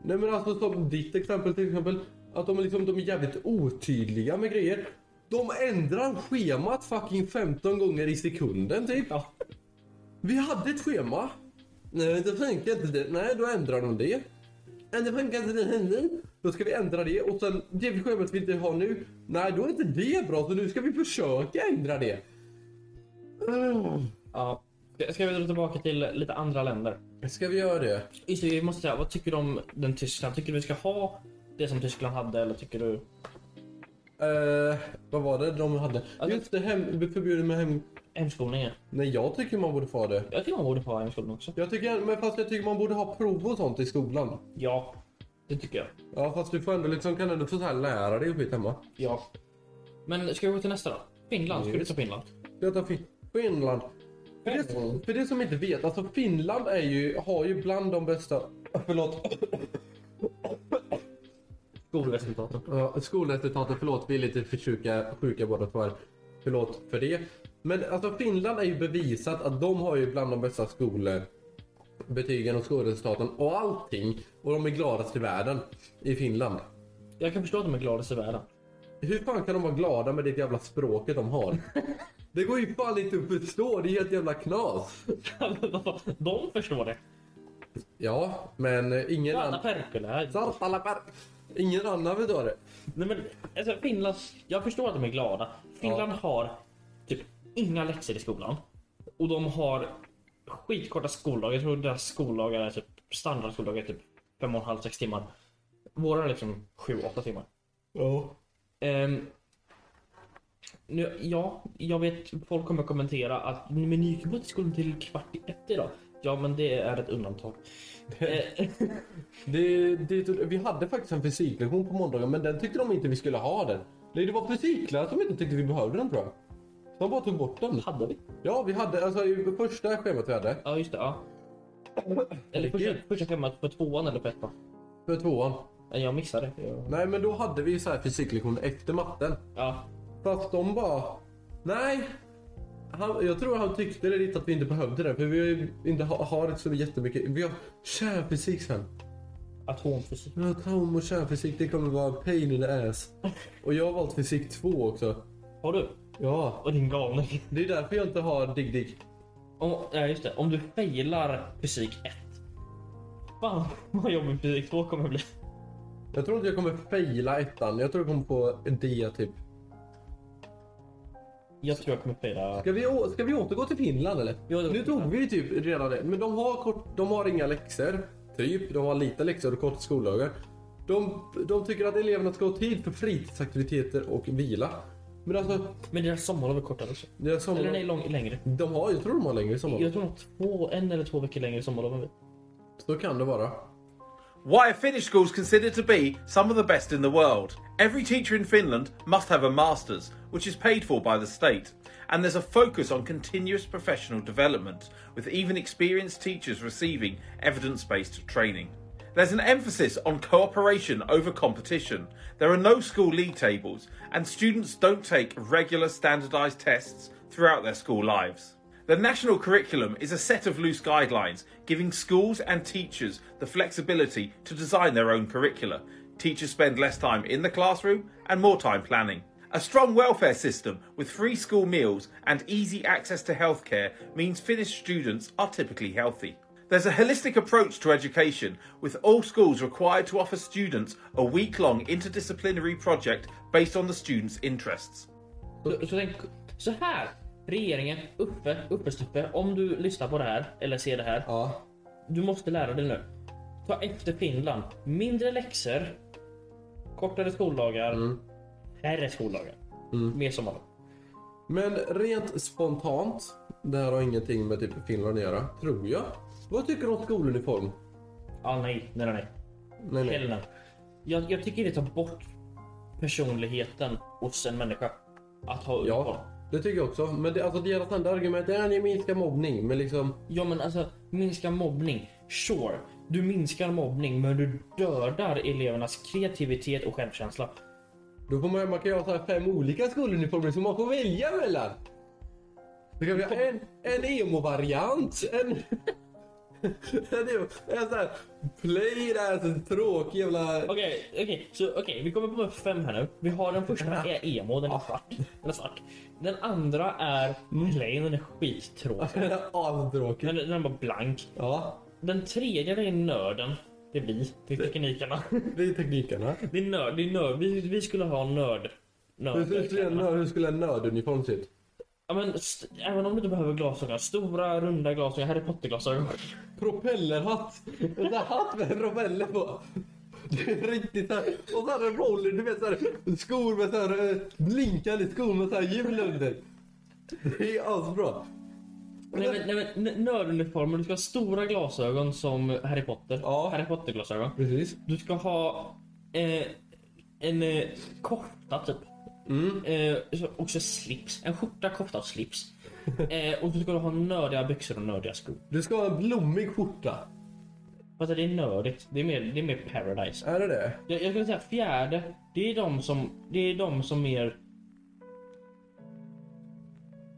Speaker 1: Nej men alltså som ditt exempel till exempel. Att de, är liksom, de är jävligt otydliga med grejer. De ändrar schemat fucking 15 gånger i sekunden typ.
Speaker 2: Ja.
Speaker 1: Vi hade ett schema. Nej, det funkar inte det. Nej, då ändrar de det. Nej, det funkar inte det. Nej, Då ska vi ändra det. Och sen det schemat vi inte har nu. Nej, då är inte det bra. Så nu ska vi försöka ändra det. Mm.
Speaker 2: ja. Ska- Ska vi dra tillbaka till lite andra länder?
Speaker 1: Ska vi göra det?
Speaker 2: Just det, vi måste säga, vad tycker du om den Tyskland? Tycker du vi ska ha det som Tyskland hade eller tycker du...
Speaker 1: Eh, vad var det de hade? Just det, hem, förbjudet med hem...
Speaker 2: Hemskolningen?
Speaker 1: Nej, jag tycker man borde få ha det.
Speaker 2: Jag tycker man borde få ha hemskolning också.
Speaker 1: Jag tycker, men fast jag tycker man borde ha prov och sånt i skolan.
Speaker 2: Ja, det tycker jag.
Speaker 1: Ja, fast du får ändå liksom, kan ändå få så här lära dig och skit hemma.
Speaker 2: Ja. Men ska vi gå till nästa då? Finland, ska du ta Finland?
Speaker 1: Jag tar fin- Finland. För det, för det som inte vet, alltså Finland är ju, har ju bland de bästa förlåt,
Speaker 2: Skolresultaten.
Speaker 1: ja, skolresultaten. Förlåt, vi är lite för sjuka, sjuka båda två här. Förlåt för det. Men alltså Finland är ju bevisat att de har ju bland de bästa skolbetygen och skolresultaten och allting. Och de är gladast i världen i Finland.
Speaker 2: Jag kan förstå att de är gladast i världen.
Speaker 1: Hur fan kan de vara glada med det jävla språket de har? Det går ju fan inte att förstå, det är helt jävla knas.
Speaker 2: de förstår det.
Speaker 1: Ja, men eh, ingen
Speaker 2: Anna
Speaker 1: annan...
Speaker 2: Perkele. här.
Speaker 1: Sartalapär. Ingen annan vill ha det.
Speaker 2: Nej, men, alltså, Finland, jag förstår att de är glada. Finland har typ inga läxor i skolan. Och de har skitkorta skoldagar. Jag tror deras skoldagar är typ standardskoldagar är typ 5,5-6 timmar. Våra är liksom 7-8 timmar.
Speaker 1: Ja.
Speaker 2: Ehm, nu, ja, jag vet folk kommer kommentera att men ni gick ju bara till skolan till kvart i ett idag. Ja, men det är ett undantag. Eh,
Speaker 1: Det, det, vi hade faktiskt en fysiklektion på måndagen men den tyckte de inte vi skulle ha den. Nej, det var fysikläraren som inte tyckte vi behövde den tror jag. Så de bara tog bort den.
Speaker 2: hade vi?
Speaker 1: Ja, vi hade alltså i första schemat vi hade
Speaker 2: Ja, just det. Ja. Eller första,
Speaker 1: Herregud.
Speaker 2: första schemat på tvåan eller på ettan.
Speaker 1: för tvåan.
Speaker 2: Nej, Jag missade. Jag...
Speaker 1: Nej, men då hade vi så här fysiklektion efter matten.
Speaker 2: Ja,
Speaker 1: Fast de bara... Nej! han, jag tror han tyckte det lite att vi inte behövde det. För vi har ju inte ha, har så jättemycket. Vi har kärnfysik sen.
Speaker 2: Atomfysik.
Speaker 1: Men atom och kärnfysik det kommer vara pain in the ass. Och jag har valt fysik 2 också.
Speaker 2: Har du?
Speaker 1: Ja,
Speaker 2: Och din galning.
Speaker 1: det är därför jag inte har dig dig.
Speaker 2: Om, ja, just det. Om du failar fysik 1. Fan vad jobbig fysik 2 kommer bli.
Speaker 1: Jag tror inte jag kommer faila ettan. Jag tror jag kommer på D typ.
Speaker 2: Jag tror jag kommer faila.
Speaker 1: Ska vi, å- ska vi återgå till Finland eller?
Speaker 2: Ja, det var
Speaker 1: nu
Speaker 2: Finland.
Speaker 1: tog vi ju typ redan det. Men de har, kort, de har inga läxor. Typ. De har lite läxor och korta skoldagar. De, de tycker att eleverna ska ha tid för fritidsaktiviteter och vila. Men alltså,
Speaker 2: Men deras sommarlov är kortare också.
Speaker 1: deras sommar...
Speaker 2: Eller nej, lång, längre.
Speaker 1: de har, jag tror de har längre sommar.
Speaker 2: Jag tror de har två, en eller två veckor längre sommarlov än vi.
Speaker 1: Så kan det vara.
Speaker 3: Why are Finnish schools considered to be some of the best in the world? Every teacher in Finland must have a master's, which is paid for by the state. And there's a focus on continuous professional development, with even experienced teachers receiving evidence based training. There's an emphasis on cooperation over competition. There are no school league tables, and students don't take regular standardised tests throughout their school lives. The national curriculum is a set of loose guidelines giving schools and teachers the flexibility to design their own curricula. Teachers spend less time in the classroom and more time planning. A strong welfare system with free school meals and easy access to healthcare means Finnish students are typically healthy. There's a holistic approach to education, with all schools required to offer students a week long interdisciplinary project based on the students' interests.
Speaker 2: Så, så, tänk, så här. Regeringen, Uffe, Uppe-Stuppe. Om du lyssnar på det här eller ser det här.
Speaker 1: Ja.
Speaker 2: Du måste lära dig nu. Ta efter Finland. Mindre läxor. Kortare skoldagar.
Speaker 1: Mm.
Speaker 2: Färre skoldagar. Mer sommarlov.
Speaker 1: Men rent spontant. Det här har ingenting med typ Finland att göra. Tror jag. Vad tycker du om skoluniform?
Speaker 2: Ah, nej, nej, nej, nej.
Speaker 1: Nej, nej.
Speaker 2: Hellre. Jag, jag tycker det tar bort personligheten hos en människa. Att ha uniform.
Speaker 1: Ja, det tycker jag också. Men det, alltså deras enda argument är att ni minskar mobbning. Men liksom...
Speaker 2: Ja men alltså minska mobbning. Sure, du minskar mobbning men du dödar elevernas kreativitet och självkänsla.
Speaker 1: Då får man, man kan göra så här fem olika skoluniformer som man får välja mellan. Då kan vi ha en, en emo-variant. En, en, emo, en sån här play där, så tråkig jävla...
Speaker 2: Okej, okej, så okej, vi kommer på fem här nu. Vi har den första är emo, den är svart. Den är svart. Den andra är plain, den är skittråkig.
Speaker 1: Astråkig.
Speaker 2: Den, den är bara blank.
Speaker 1: Ja,
Speaker 2: Den tredje det är nörden. Det är vi, det är teknikerna.
Speaker 1: det är teknikerna.
Speaker 2: Det är nörd, det är nörd. Vi, vi skulle ha nörd.
Speaker 1: Hur skulle en,
Speaker 2: Nörd.
Speaker 1: nörd- hur skulle en nörduniform se ut?
Speaker 2: Ja, men, st- även om du inte behöver glasögon. Stora runda glasögon, Harry Potter-glasögon.
Speaker 1: Propellerhatt! En sån här hatt med en propeller på. Det är riktigt såhär. Och så här en roller, du vet såhär skor med såhär eh, blinkande skor med såhär hjul under. Det är asbra.
Speaker 2: Nej men, nej, men n- nörduniformer, du ska ha stora glasögon som Harry Potter.
Speaker 1: Ja.
Speaker 2: Harry Potter glasögon.
Speaker 1: Precis.
Speaker 2: Du ska ha eh, en eh, kofta typ. Eh, så- också slips. En skjorta, kofta och slips. eh, och du ska ha nördiga byxor och nördiga skor.
Speaker 1: Du ska ha en blommig skjorta.
Speaker 2: Fast det är nördigt. Det är mer, det är mer paradise.
Speaker 1: Är det det?
Speaker 2: Jag, jag skulle säga fjärde. Det är de som, det är de som mer...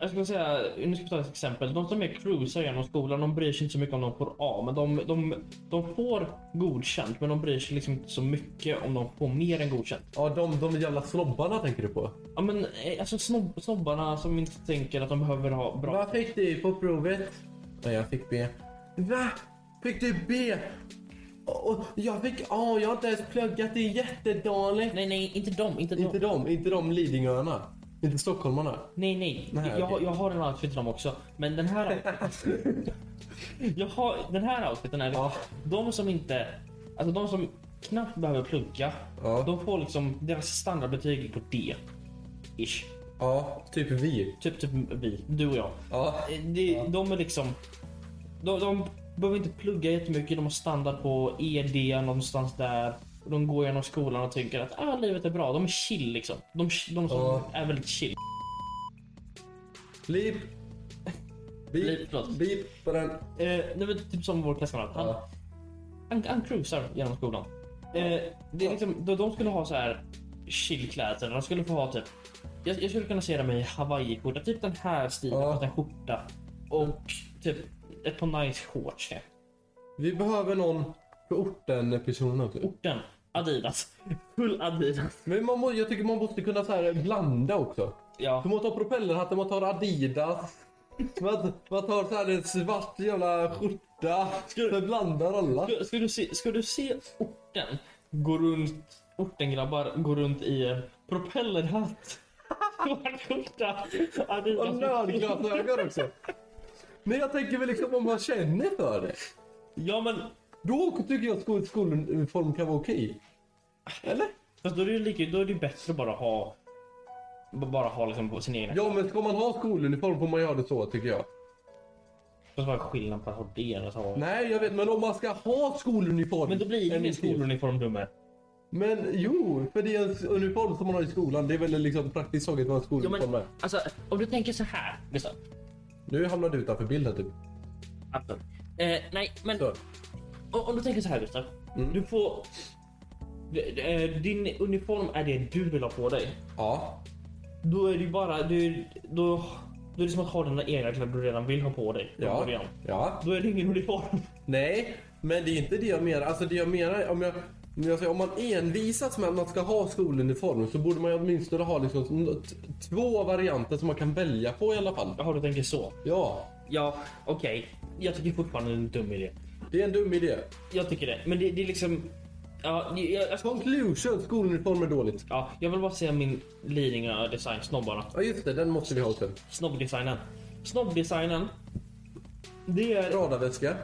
Speaker 2: Jag skulle säga, nu ska vi ta ett exempel. De som är cruisar genom skolan, de bryr sig inte så mycket om de får A. Men de, de, de får godkänt, men de bryr sig liksom inte så mycket om de får mer än godkänt.
Speaker 1: Ja, de, de jävla snobbarna tänker du på.
Speaker 2: Ja men eh, alltså snobb, snobbarna som inte tänker att de behöver ha bra...
Speaker 1: Vad fick du på provet? Ja, jag fick B. Va? Fick du B? Och jag fick A, jag har inte ens pluggat, det är jättedåligt.
Speaker 2: Nej nej, inte dem, inte dem.
Speaker 1: Inte de, inte de Lidingöarna. Inte stockholmarna.
Speaker 2: Nej nej,
Speaker 1: Nej,
Speaker 2: jag,
Speaker 1: okej.
Speaker 2: jag har en outfit till dem också. Men den här... jag har, den här outfiten är...
Speaker 1: Ja.
Speaker 2: De som inte... Alltså de som knappt behöver plugga.
Speaker 1: Ja.
Speaker 2: De får liksom deras standardbetyg är på D. Ish.
Speaker 1: Ja, typ vi.
Speaker 2: Typ, typ vi, du och jag.
Speaker 1: Ja.
Speaker 2: Eh, Det, De är liksom... De, de behöver inte plugga jättemycket. De har standard på ED någonstans där. Och De går genom skolan och tycker att ah, livet är bra. De är chill liksom. De, de som
Speaker 1: Ja.
Speaker 2: är väldigt chill.
Speaker 1: Blip.
Speaker 2: Blip,
Speaker 1: Blip.
Speaker 2: förlåt.
Speaker 1: Blip på den.
Speaker 2: Eh, nej, men typ som vår klasskamrat. Han,
Speaker 1: Ja.
Speaker 2: han, han cruisar genom skolan. Eh, det är liksom, de, de skulle ha så här chillkläder. De skulle få ha typ Jag, jag skulle kunna se dem i hawaiiskjorta, typ den här stilen,
Speaker 1: Ja.
Speaker 2: fast en skjorta. Och typ ett par nice shorts. typ. ja.
Speaker 1: Vi behöver någon för orten-person också.
Speaker 2: Orten, Adidas. Full Adidas.
Speaker 1: Men man må, jag tycker man måste kunna så här blanda också.
Speaker 2: Ja,
Speaker 1: Så man tar propellerhatten, man tar Adidas. Man, man tar så här en svart jävla skjorta.
Speaker 2: Ska-
Speaker 1: Så blandar alla.
Speaker 2: Ska, ska, du se, ska du se orten gå runt, ortengrabbar gå runt i propellerhatt, svart skjorta,
Speaker 1: Och
Speaker 2: Adidas.
Speaker 1: nördglasögon också. Men jag tänker väl liksom om man känner för det.
Speaker 2: Ja men,
Speaker 1: Då tycker jag skol, skoluniform kan vara okej. Eller?
Speaker 2: fast då är det ju lika, då är det ju bättre att bara ha, b- bara ha liksom på sin egen.
Speaker 1: Ja men ska man ha skoluniform får man göra det så tycker jag.
Speaker 2: Fast vad är skillnaden på att ha det än att ha...
Speaker 1: Nej jag vet men om man ska ha skoluniform.
Speaker 2: Men då blir det
Speaker 1: en
Speaker 2: ingen
Speaker 1: till.
Speaker 2: skoluniform dumme.
Speaker 1: Men jo, för det är en uniform som man har i skolan. Det är väl liksom praktiskt taget vad en
Speaker 2: Ja,
Speaker 1: skoluniform
Speaker 2: men,
Speaker 1: är.
Speaker 2: alltså, om du tänker så här, Gustav.
Speaker 1: Nu hamnar du utanför bilden typ.
Speaker 2: Alltså, eh, nej, men
Speaker 1: Så.
Speaker 2: Om, om du tänker så här Gustav.
Speaker 1: Mm.
Speaker 2: Du får... D- d- eh, Din uniform är det du vill ha på dig.
Speaker 1: Ja.
Speaker 2: Då är det ju bara... Du, då, då är det som att ha dina egna kläder du redan vill ha på dig. från
Speaker 1: Ja.
Speaker 2: början.
Speaker 1: Ja.
Speaker 2: Då är det ingen uniform.
Speaker 1: Nej, men det är inte det jag menar. Alltså det jag menar om jag... Om, jag säger, om man envisas med att man ska ha skoluniform så borde man ju åtminstone ha liksom t- två varianter som man kan välja på i alla fall.
Speaker 2: Jaha, du tänker så.
Speaker 1: Ja,
Speaker 2: Ja, okej. Jag tycker fortfarande det är en dum idé.
Speaker 1: det är en dum idé.
Speaker 2: Jag tycker det. Men det, det är liksom... Ja, jag, jag, jag,
Speaker 1: Conclusion, skoluniform är dåligt.
Speaker 2: ja, jag vill bara säga min Lidingö designsnobb bara.
Speaker 1: Ja just det, den måste vi ha också.
Speaker 2: Snobbdesignen. Snobbdesignen. Det är...
Speaker 1: Radarväska.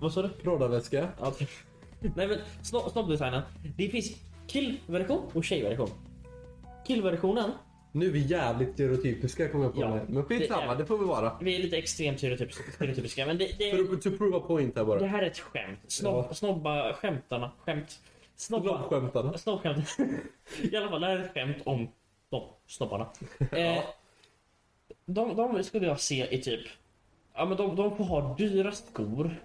Speaker 2: Vad sa du?
Speaker 1: Radarväska.
Speaker 2: Ja, typ. Nej men snob- snobbdesignen. Det finns killversion och tjejversion. Killversionen,
Speaker 1: Nu är vi jävligt stereotypiska kommer jag på
Speaker 2: Ja.
Speaker 1: med. Men skitsamma,
Speaker 2: Det är-
Speaker 1: det får vi vara.
Speaker 2: vi är lite extremt stereotyp- stereotypiska men det, det,
Speaker 1: För att to prove a point här
Speaker 2: det
Speaker 1: bara.
Speaker 2: här är ett skämt. Snob,
Speaker 1: Ja.
Speaker 2: Snobba skämtarna. Skämt. Snobba,
Speaker 1: Snobbskämtarna.
Speaker 2: snobbskämt. I alla fall, det här är ett skämt om snob, snobbarna. Eh, de, de skulle jag se i typ... Ja, men de, de får ha dyra skor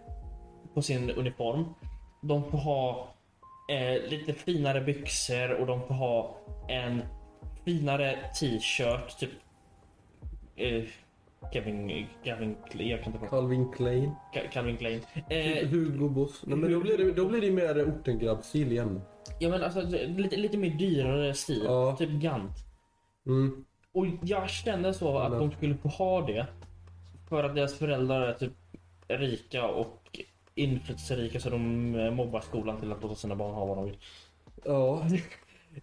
Speaker 2: på sin uniform. De får ha eh, lite finare byxor och de får ha en finare t-shirt. Typ eh, Kevin... Kevin... Jag kan inte prata.
Speaker 1: Calvin Klein.
Speaker 2: Ka- Calvin Klein. Eh,
Speaker 1: Hugo Boss. Nej, men då blir det, då blir det mer ortengrabbstil igen.
Speaker 2: ja, men alltså, lite, lite mer dyrare stil.
Speaker 1: Ja.
Speaker 2: Typ Gant.
Speaker 1: Mm.
Speaker 2: Och jag kände så att
Speaker 1: Men-
Speaker 2: de skulle få ha det. För att deras föräldrar är typ rika och inflytelserika så de eh, mobbar skolan till att låta sina barn ha vad de vill.
Speaker 1: Ja.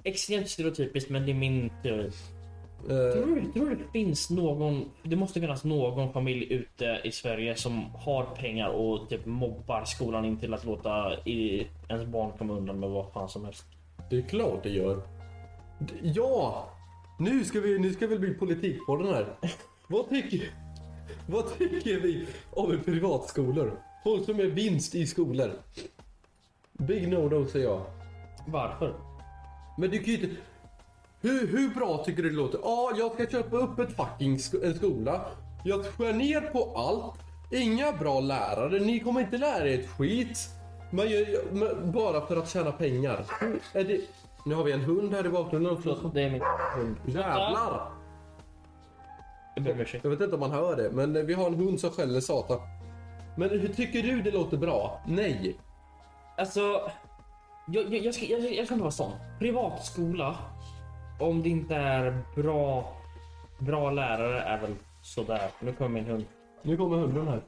Speaker 2: Extremt stereotypiskt men det är min teori.
Speaker 1: eh,
Speaker 2: Tror du, tror du det finns någon, det måste finnas någon familj ute i Sverige som har pengar och typ mobbar skolan in till att låta i, ens barn komma undan med vad fan som helst.
Speaker 1: det är klart det gör. D- Ja! Nu ska vi, nu ska vi bli politik på den här. Vad tycker, vad tycker vi om privatskolor? Folk som är vinst i skolor. Big no-no säger jag.
Speaker 2: Varför?
Speaker 1: Men du kan ju inte... Hur, hur bra tycker du det låter? Ja, jag ska köpa upp ett fucking sk- en skola. Jag skär ner på allt. Inga bra lärare. Ni kommer inte lära er ett skit. Man gör, men bara för att tjäna pengar. Hur Är det... Nu har vi en hund här i bakgrunden också.
Speaker 2: Det är min hund.
Speaker 1: Jävlar!
Speaker 2: Jag ber om ursäkt.
Speaker 1: Jag vet inte om man hör det, men vi har en hund som skäller satan. Men hur tycker du det låter bra? Nej.
Speaker 2: Alltså, jag, jag, jag, ska, jag, jag ska inte vara sån. Privatskola, om det inte är bra, bra lärare, är väl sådär. Nu kommer min hund.
Speaker 1: Nu kommer hunden här.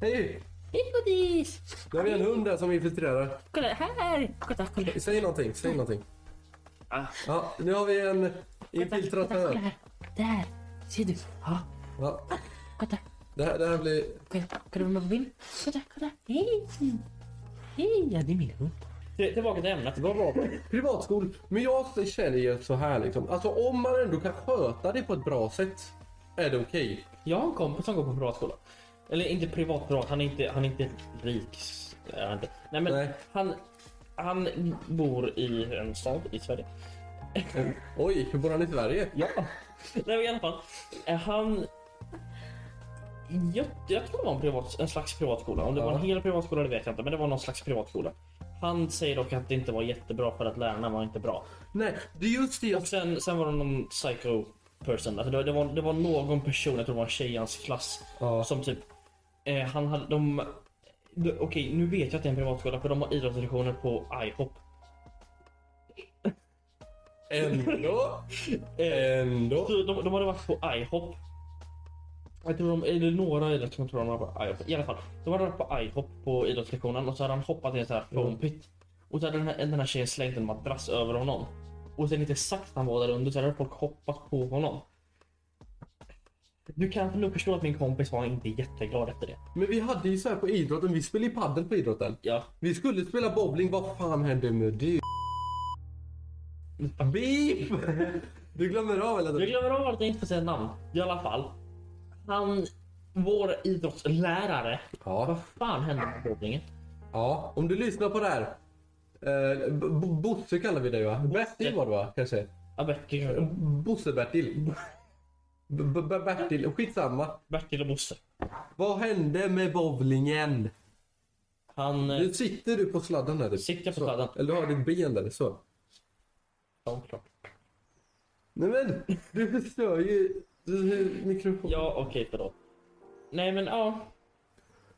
Speaker 1: Hej!
Speaker 4: Hej godis!
Speaker 1: Nu har vi en hund här som infiltrerar.
Speaker 4: Kolla här! Kolla, kolla.
Speaker 1: Säg någonting, säg någonting.
Speaker 2: Ah.
Speaker 1: Ja, nu har vi en infiltratör.
Speaker 4: här. Där! Ser du? Ja,
Speaker 1: Ja,
Speaker 4: kolla.
Speaker 1: det, här, det här blir...
Speaker 4: Kolla, kolla vad man vill. Kolla, kolla. Hej! Hej! Ja, det är min hund.
Speaker 2: Till- Tillbaka till ämnet.
Speaker 1: Vad var det? Privatskol. Men jag känner ju så här liksom. Alltså om man ändå kan sköta det på ett bra sätt är det okej.
Speaker 2: Jag har en kompis som går på privatskola. Eller inte privat privat, han är inte, han är inte rik. Är han inte. Nej men
Speaker 1: Nej.
Speaker 2: Han, han bor i en stad i Sverige.
Speaker 1: Eh, Oj, hur bor han i Sverige?
Speaker 2: Ja. Nej men i alla fall. eh, Han... Jag, jag tror det var en, privat, en slags privatskola. Om det var en
Speaker 1: Ja.
Speaker 2: hel privatskola det vet jag inte. Men det var någon slags privatskola. Han säger dock att det inte var jättebra för att lärarna var inte bra.
Speaker 1: Nej, det är just det jag...
Speaker 2: Och sen, sen var det någon psycho person. Alltså det, det, var, det var någon person, jag tror det var en tjej i hans klass,
Speaker 1: Ja.
Speaker 2: som typ... Eh, han hade... De, de, Okej, nu vet jag att det är en privatskola för de har idrottslektioner på IHOP.
Speaker 1: Ändå. Ändå.
Speaker 2: Så Alltså, De, de hade varit på IHOP. Jag tror de, eller några idrottslektioner tror jag de var på IHOP. I alla fall, de hade varit på IHOP på idrottslektionen och så hade han hoppat i en sån här foam pit. Och så hade den här, den här tjejen slängt en madrass över honom. Och sen inte sagt att han var där under så hade folk hoppat på honom. Du kan nog förstå att min kompis var inte jätteglad efter det.
Speaker 1: Men vi hade ju så här på idrotten. Vi spelade ju padel på idrotten.
Speaker 2: Ja.
Speaker 1: Vi skulle spela bowling. Vad fan hände med det? Beep! Du glömmer av eller?
Speaker 2: Jag glömmer av att jag inte får säga namn. I alla fall. Han, vår idrottslärare.
Speaker 1: Ja.
Speaker 2: Vad fan hände med bowlingen?
Speaker 1: ja. Om du lyssnar på det här. Eh, B- B- Bosse kallar vi dig va? Bertil var det va? Kanske?
Speaker 2: Ja, Bertil kanske det var.
Speaker 1: Bosse-Bertil. B- B- Bertil. Skitsamma.
Speaker 2: Bertil och Bosse.
Speaker 1: Vad hände med bowlingen?
Speaker 2: Han... eh,
Speaker 1: Nu sitter du på sladden där. Du.
Speaker 2: Sitter jag på
Speaker 1: Så.
Speaker 2: sladden?
Speaker 1: Eller du har ditt ben där. Så.
Speaker 2: Ja, klart.
Speaker 1: Nej men, du förstör ju eh, mikrofonen.
Speaker 2: Ja, okej, förlåt. Nej, men ja.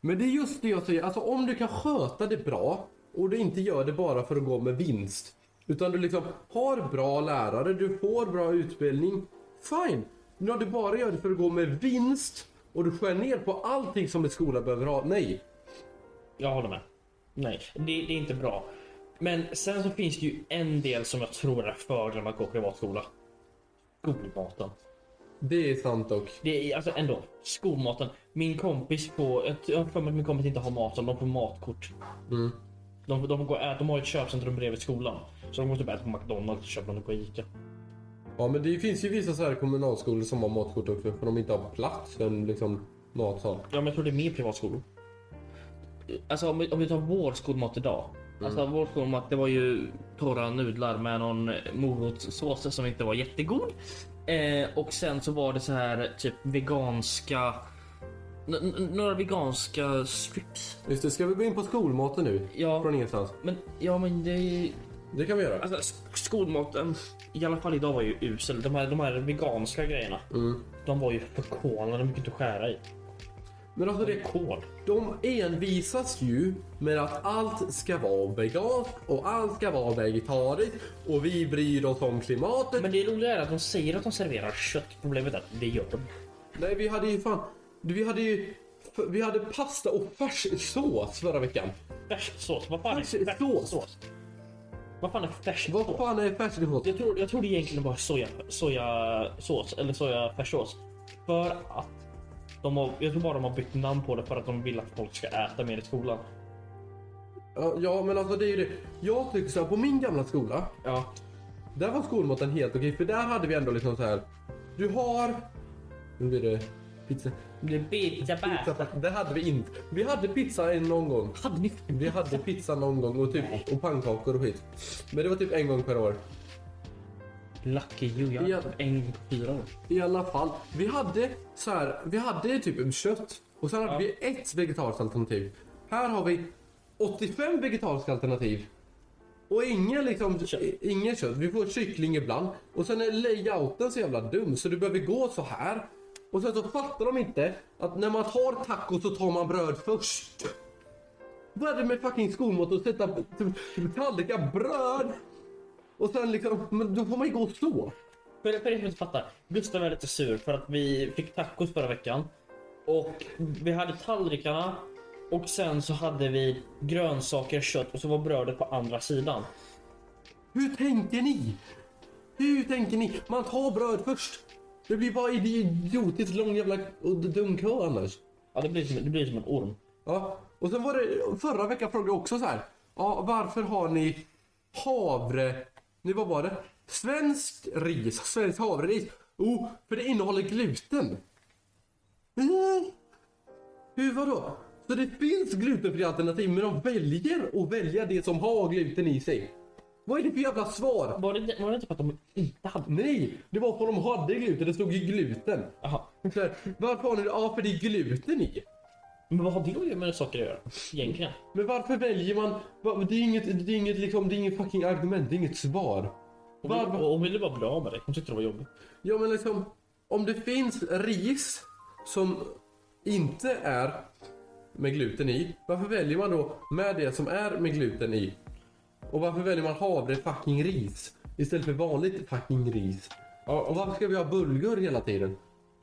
Speaker 1: Men det är just det jag säger. Alltså om du kan sköta det bra och du inte gör det bara för att gå med vinst. Utan du liksom har bra lärare, du får bra utbildning. Fine! Men om du bara gör det för att gå med vinst och du skär ner på allting som en skola behöver ha. Nej!
Speaker 2: Jag håller med. Nej, det, det är inte bra. Men sen så finns det ju en del som jag tror är fördel med att gå privatskola. Skolmaten.
Speaker 1: Det är sant dock.
Speaker 2: Det är alltså ändå skolmaten. Min kompis på... Jag t- jag har för mig att min kompis inte har mat, de får matkort.
Speaker 1: Mm.
Speaker 2: De, de, går, och äter- de har ett köpcentrum bredvid skolan. Så de går typ äta på McDonalds och köper något på Ica.
Speaker 1: Ja men det finns ju vissa så här kommunalskolor som har matkort också för de inte har plats för en, liksom något sånt.
Speaker 2: Ja, men jag tror det är mer privatskolor. Alltså om vi, om vi tar vår skolmat idag. Alltså vår skolmat det var ju torra nudlar med någon morotssås som inte var jättegod. Eh, och sen så var det så här typ veganska. n- n- Några veganska strips.
Speaker 1: Just det, ska vi gå in på skolmaten nu?
Speaker 2: Ja.
Speaker 1: Från ingenstans.
Speaker 2: Men ja men det är ju-
Speaker 1: Det kan vi göra.
Speaker 2: Alltså sk- skolmaten i alla fall idag var ju usel. De här, de här veganska grejerna. De var ju förkolnade mycket att skära i.
Speaker 1: Men alltså det,
Speaker 2: Kol.
Speaker 1: de envisas ju med att allt ska vara veganskt och allt ska vara vegetariskt och vi bryr oss om klimatet.
Speaker 2: Men det roliga är att de säger att de serverar kött. Problemet är att det gör de
Speaker 1: Nej, vi hade ju fan... Vi hade ju... Vi hade pasta och färssås förra veckan.
Speaker 2: Färssås? Vad fan är
Speaker 1: Färssås.
Speaker 2: färssås? Vad fan är färssås?
Speaker 1: Vad fan är färssås?
Speaker 2: Jag tror, jag tror det egentligen bara är soja, sojasås eller sojafärssås. För att de har, jag tror bara de har bytt namn på det för att de vill att folk ska äta mer i skolan.
Speaker 1: Ja, Ja, men alltså det är ju det. Jag tycker så här, på min gamla skola
Speaker 2: Ja.
Speaker 1: Där var skolmaten helt okej för där hade vi ändå liksom så här. Du har... Nu blir det pizza.
Speaker 2: Det är pizza
Speaker 1: pizza det hade vi inte. Vi hade pizza en någon gång.
Speaker 2: Hade ni
Speaker 1: Vi hade pizza någon gång och, typ, och pannkakor och skit. Men det var typ en gång per år.
Speaker 2: Lucky you, jag
Speaker 1: Ja.
Speaker 2: har typ en gång på fyra år.
Speaker 1: I alla fall. Vi hade så här, vi hade typ kött och sen hade vi ett vegetariskt alternativ. Här har vi 85 vegetariska alternativ. Och ingen liksom,
Speaker 2: Kött.
Speaker 1: ingen kött. Vi får kyckling ibland. Och sen är layouten så jävla dum så du behöver gå så här. Och sen så fattar de inte att när man tar taco så tar man bröd först. Vad är det med fucking skolmat att sätta typ tallrikar bröd? Och sen liksom, men då får man ju gå så.
Speaker 2: För, för er som inte fattar. Gustav är lite sur för att vi fick tacos förra veckan. Och vi hade tallrikarna. Och sen så hade vi grönsaker, kött och så var brödet på andra sidan.
Speaker 1: Hur tänker ni? Hur tänker ni? Man tar bröd först. Det blir bara idiotiskt lång jävla och dum kö annars.
Speaker 2: Ja, det blir som, det blir som en orm.
Speaker 1: Ja, och sen var det förra veckan frågade jag också så här. Ja, varför har ni havre? Ni vad var det? Svenskt ris, svenskt havreris. Oh, för det innehåller gluten. Mm. Hur vadå? Så det finns glutenfria alternativ men de väljer att välja det som har gluten i sig. Vad är det för jävla svar?
Speaker 2: Var det, var det inte för att de inte hade...
Speaker 1: Nej, det var för de hade gluten. Det stod ju gluten.
Speaker 2: Jaha.
Speaker 1: Så här, varför har ni det? Ja, för det är gluten i.
Speaker 2: Men vad har det att göra med saker att göra? Egentligen.
Speaker 1: Men varför väljer man? va- Det är inget, det är inget, liksom, det är inget fucking argument. Det är inget svar.
Speaker 2: Hon,
Speaker 1: Vad-
Speaker 2: hon, hon ville bara bli av med dig. Hon tyckte det var jobbigt.
Speaker 1: Ja, men liksom, om det finns ris som inte är med gluten i, varför väljer man då med det som är med gluten i? Och varför väljer man havre fucking ris istället för vanligt fucking ris? Ja, Och varför ska vi ha bulgur hela tiden?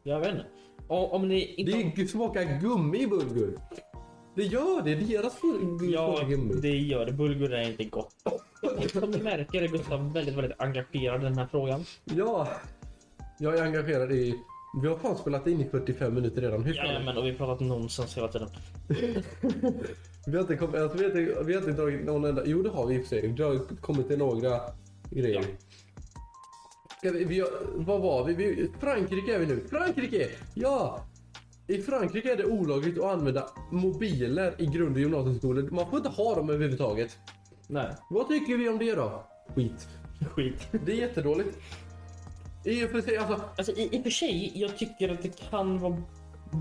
Speaker 2: Jag vet inte. Om, om ni
Speaker 1: Det
Speaker 2: inte...
Speaker 1: är ju- smakar gummi i bulgur. Det gör det, det är deras bulgur
Speaker 2: Ja,
Speaker 1: smakar gummi.
Speaker 2: det gör det. Bulgur är inte gott. Som ni märker är Gustav väldigt, väldigt engagerad i den här frågan.
Speaker 1: Ja, jag är engagerad i... Vi har fan spelat in i 45 minuter redan. Hur fan?
Speaker 2: Jajamän, och vi har pratat nonsens hela tiden.
Speaker 1: Vi har inte, kommit, alltså, vi har inte, vi har inte dragit någon enda... Jo, det har vi i och för sig. Vi har kommit till några grejer. Ska vi, vi, har- vad var vi? vi? Frankrike är vi nu. Frankrike! Ja! I Frankrike är det olagligt att använda mobiler i grund och gymnasieskolor. Man får inte ha dem överhuvudtaget.
Speaker 2: Nej,
Speaker 1: Vad tycker vi om det då? Skit.
Speaker 2: skit.
Speaker 1: Det är jättedåligt. I och för sig, alltså...
Speaker 2: Alltså i, i och för sig, jag tycker att det kan vara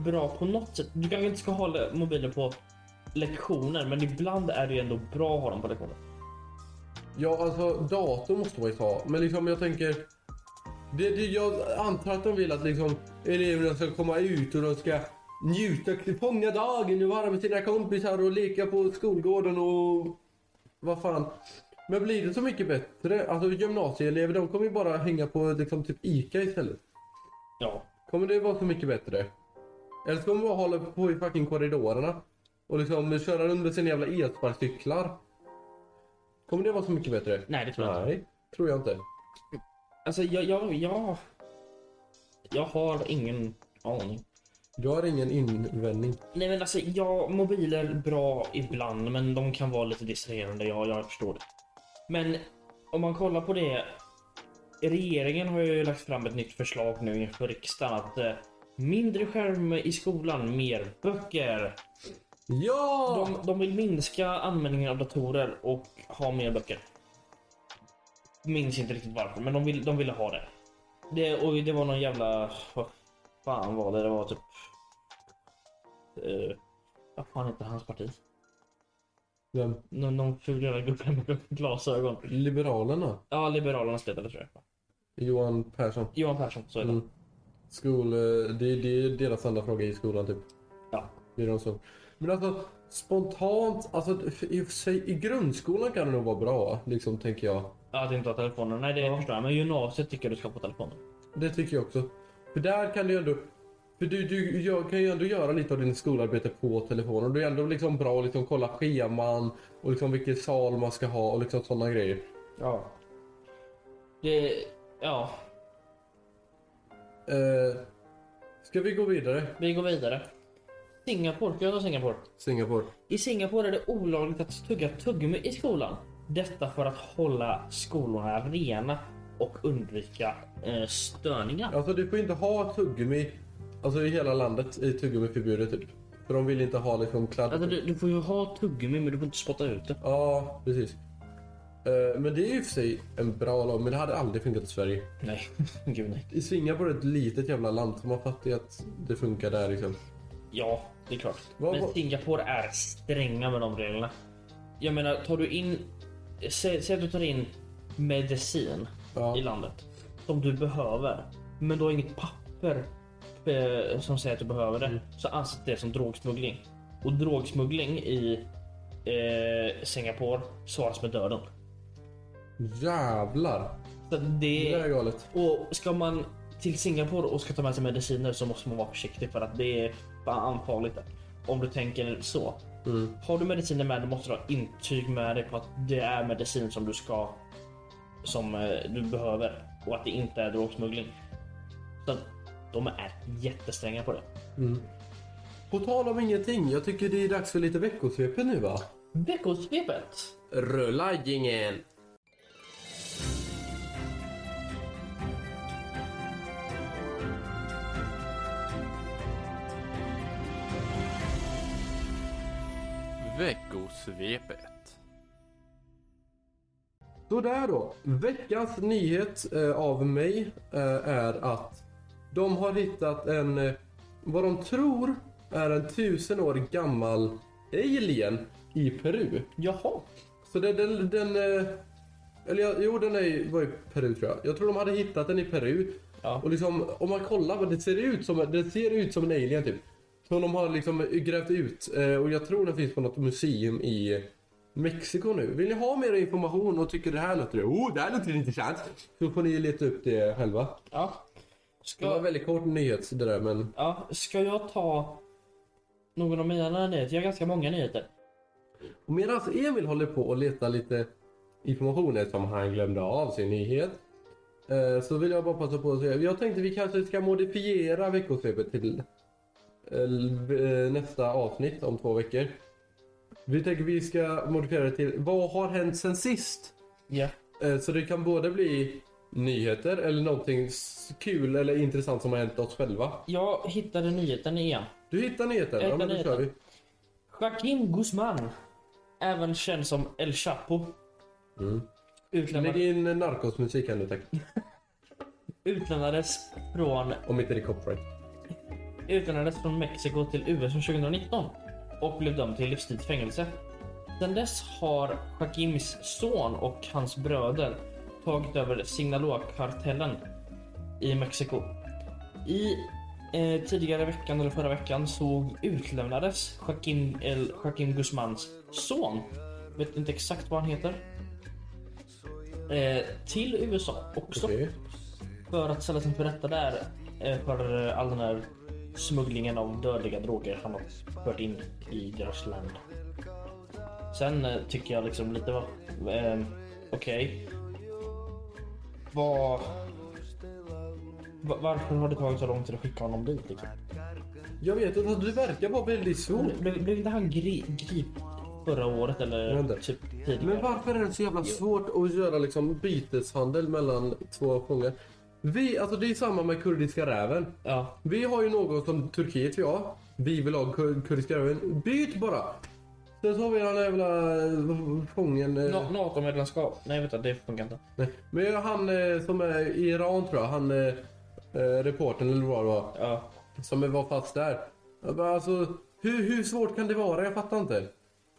Speaker 2: bra på något sätt. Du kanske inte ska ha mobilen på lektioner, men ibland är det ju ändå bra att ha dem på lektioner.
Speaker 1: Ja, alltså dator måste man ju ta. Men liksom jag tänker... Det, det, jag antar att de vill att liksom, eleverna ska komma ut och de ska njuta, fånga dagen och vara med sina kompisar och leka på skolgården och... Vad fan. Men blir det så mycket bättre? Alltså gymnasieelever de kommer ju bara hänga på liksom typ ICA istället.
Speaker 2: Ja,
Speaker 1: Kommer det vara så mycket bättre? Eller ska man bara hålla på i fucking korridorerna? Och liksom köra runt med sina jävla elsparkcyklar? Kommer det vara så mycket bättre?
Speaker 2: nej det tror jag inte.
Speaker 1: Nej, tror jag inte.
Speaker 2: Alltså jag, jag, jag... Jag har ingen aning.
Speaker 1: Jag har ingen invändning.
Speaker 2: Nej men alltså, ja, mobiler bra ibland, men de kan vara lite distraherande. Ja, jag förstår det. Men om man kollar på det. Regeringen har ju lagt fram ett nytt förslag nu inför riksdagen att eh, mindre skärm i skolan, mer böcker.
Speaker 1: Ja!
Speaker 2: De, de vill minska användningen av datorer och ha mer böcker. Minns inte riktigt varför, men de, vill, de ville ha det. det. Och det var någon jävla... Vad fan var det? Det var typ... Uh, vad fan hette hans parti?
Speaker 1: Vem?
Speaker 2: Nå, någon ful jävla gubbe med glasögon.
Speaker 1: Liberalerna.
Speaker 2: Ja, Liberalernas ledare tror jag.
Speaker 1: Johan Persson.
Speaker 2: Johan Persson, så är det.
Speaker 1: Mm. Skol... eh, Det, det är deras enda fråga i skolan typ.
Speaker 2: Ja.
Speaker 1: Det är de som... Men alltså spontant, alltså i och för sig, i grundskolan kan det nog vara bra, liksom tänker jag.
Speaker 2: Att inte ha telefonen. Nej, det förstår jag. Men gymnasiet tycker jag du ska ha på telefonen.
Speaker 1: Det tycker jag också. För där kan du ju ändå... För du, du jag kan ju ändå göra lite av din skolarbete på telefonen. Och det är ändå liksom bra att liksom kolla scheman och liksom vilken sal man ska ha och liksom sådana grejer.
Speaker 2: Ja. Det... Ja,
Speaker 1: Eh, ska vi gå vidare?
Speaker 2: vi går vidare. Singapore. Ska jag ta Singapore?
Speaker 1: Singapore.
Speaker 2: I Singapore är det olagligt att tugga tuggummi i skolan. Detta för att hålla skolorna rena och undvika eh, störningar.
Speaker 1: Alltså du får inte ha tuggummi. Alltså i hela landet är tuggummi förbjudet typ. För de vill inte ha liksom kladd.
Speaker 2: Alltså, du, du får ju ha tuggummi men du får inte spotta ut det.
Speaker 1: Ja, precis. Eh, men det är ju i och för sig en bra lag. Men det hade aldrig funkat i Sverige.
Speaker 2: Nej, gud nej.
Speaker 1: I Singapore är ett litet jävla land. Så man fattar ju att det funkar där liksom.
Speaker 2: Ja, det är klart.
Speaker 1: Vad-
Speaker 2: men
Speaker 1: vad-
Speaker 2: Singapore är stränga med de reglerna. Jag menar, tar du in... Säg, säg att du tar in medicin
Speaker 1: Ja.
Speaker 2: i landet som du behöver, men du har inget papper eh, som säger att du behöver
Speaker 1: Mm.
Speaker 2: det, så anses det som drogsmuggling. Och drogsmuggling i eh, Singapore svaras med döden.
Speaker 1: Jävlar.
Speaker 2: Så att det...
Speaker 1: Det där är galet.
Speaker 2: Och ska man till Singapore och ska ta med sig mediciner så måste man vara försiktig för att det är fan farligt. Om du tänker så.
Speaker 1: Mm.
Speaker 2: Har du mediciner med dig måste du ha intyg med dig på att det är medicin som du ska som eh, du behöver och att det inte är drogsmuggling. Så att de är jättestränga på det.
Speaker 1: På tal om ingenting. Jag tycker det är dags för lite veckosvepet nu va?
Speaker 2: Veckosvepet!
Speaker 1: Rulla jingeln. Veckosvepet. Så där då. Veckans nyhet eh, av mig eh, är att de har hittat en, eh, vad de tror är en tusen år gammal alien i Peru.
Speaker 2: Jaha,
Speaker 1: Så den, den, den, eh, Eller ja, jo, den är, ju- var i Peru tror jag. Jag tror de hade hittat den i Peru.
Speaker 2: Ja.
Speaker 1: Och liksom, om man kollar, vad det ser ut som, det ser ut som en alien typ. Som de har liksom grävt ut. eh, Och jag tror den finns på något museum i Mexiko nu. Vill ni ha mer information och tycker det här låter... Oh, det här låter intressant. Så får ni leta upp det själva.
Speaker 2: Ja.
Speaker 1: Det var en
Speaker 2: Ska,
Speaker 1: väldigt kort nyhet det där, men...
Speaker 2: ja. Ska jag ta någon av mina nyheter? Jag har ganska många nyheter.
Speaker 1: Och medan Emil håller på och letar lite information eftersom han glömde av sin nyhet. eh, Så vill jag bara passa på att säga, jag tänkte vi kanske ska modifiera veckosvepet till eh, nästa avsnitt om två veckor. Vi tänker vi ska modifiera det till vad har hänt sen sist?
Speaker 2: Ja.
Speaker 1: Eh, Så det kan både bli nyheter eller någonting s- kul eller intressant som har hänt oss själva.
Speaker 2: Jag hittade nyheten igen.
Speaker 1: Du hittar nyheter?
Speaker 2: Jag
Speaker 1: Ja,
Speaker 2: hittar
Speaker 1: men då kör vi.
Speaker 2: nyheter. Joaquin Guzman, även känd som El Chapo,
Speaker 1: Mm. Lägg
Speaker 2: utlämnad,
Speaker 1: in narkosmusik här nu tack.
Speaker 2: utlämnades från
Speaker 1: Om inte det är copyright.
Speaker 2: utlämnades från Mexiko till USA 2019 och blev dömd till livstids fängelse. Sedan dess har Joaquims son och hans bröder tagit över Sinaloa-kartellen i Mexiko. I eh, tidigare veckan, eller förra veckan, så utlämnades Joaquin, El, Joaquin Guzmans son, vet inte exakt vad han heter, eh, till USA också
Speaker 1: Okej.
Speaker 2: för att ställa sig inför rätta där eh, för eh, all den här smugglingen av dödliga droger han har fört in i deras land. Sen eh, tycker jag liksom lite vad... Eh, Okej. Vad... va- Varför har det tagit så lång tid att skicka honom dit? Liksom?
Speaker 1: Jag vet inte, alltså, du verkar vara väldigt svår.
Speaker 2: Blev, blev inte han gri, grip förra året eller
Speaker 1: Vänta.
Speaker 2: typ
Speaker 1: Men
Speaker 2: tidigare?
Speaker 1: varför är det så jävla svårt att göra liksom byteshandel mellan två fångar? Vi, alltså det är samma med kurdiska räven.
Speaker 2: Ja,
Speaker 1: Vi har ju något som Turkiet vill ha. Vi vill ha kur- kurdiska räven. Byt bara! Sen så har vi den här jävla eh, fången... eh,
Speaker 2: Na- Natomedlemskap? Nej vänta, det funkar inte.
Speaker 1: nej. Men han eh, som är i Iran tror jag, han eh, eh, reportern eller vad det var.
Speaker 2: Ja.
Speaker 1: som var fast där. Jag bara, Alltså, hur, hur svårt kan det vara? Jag fattar inte.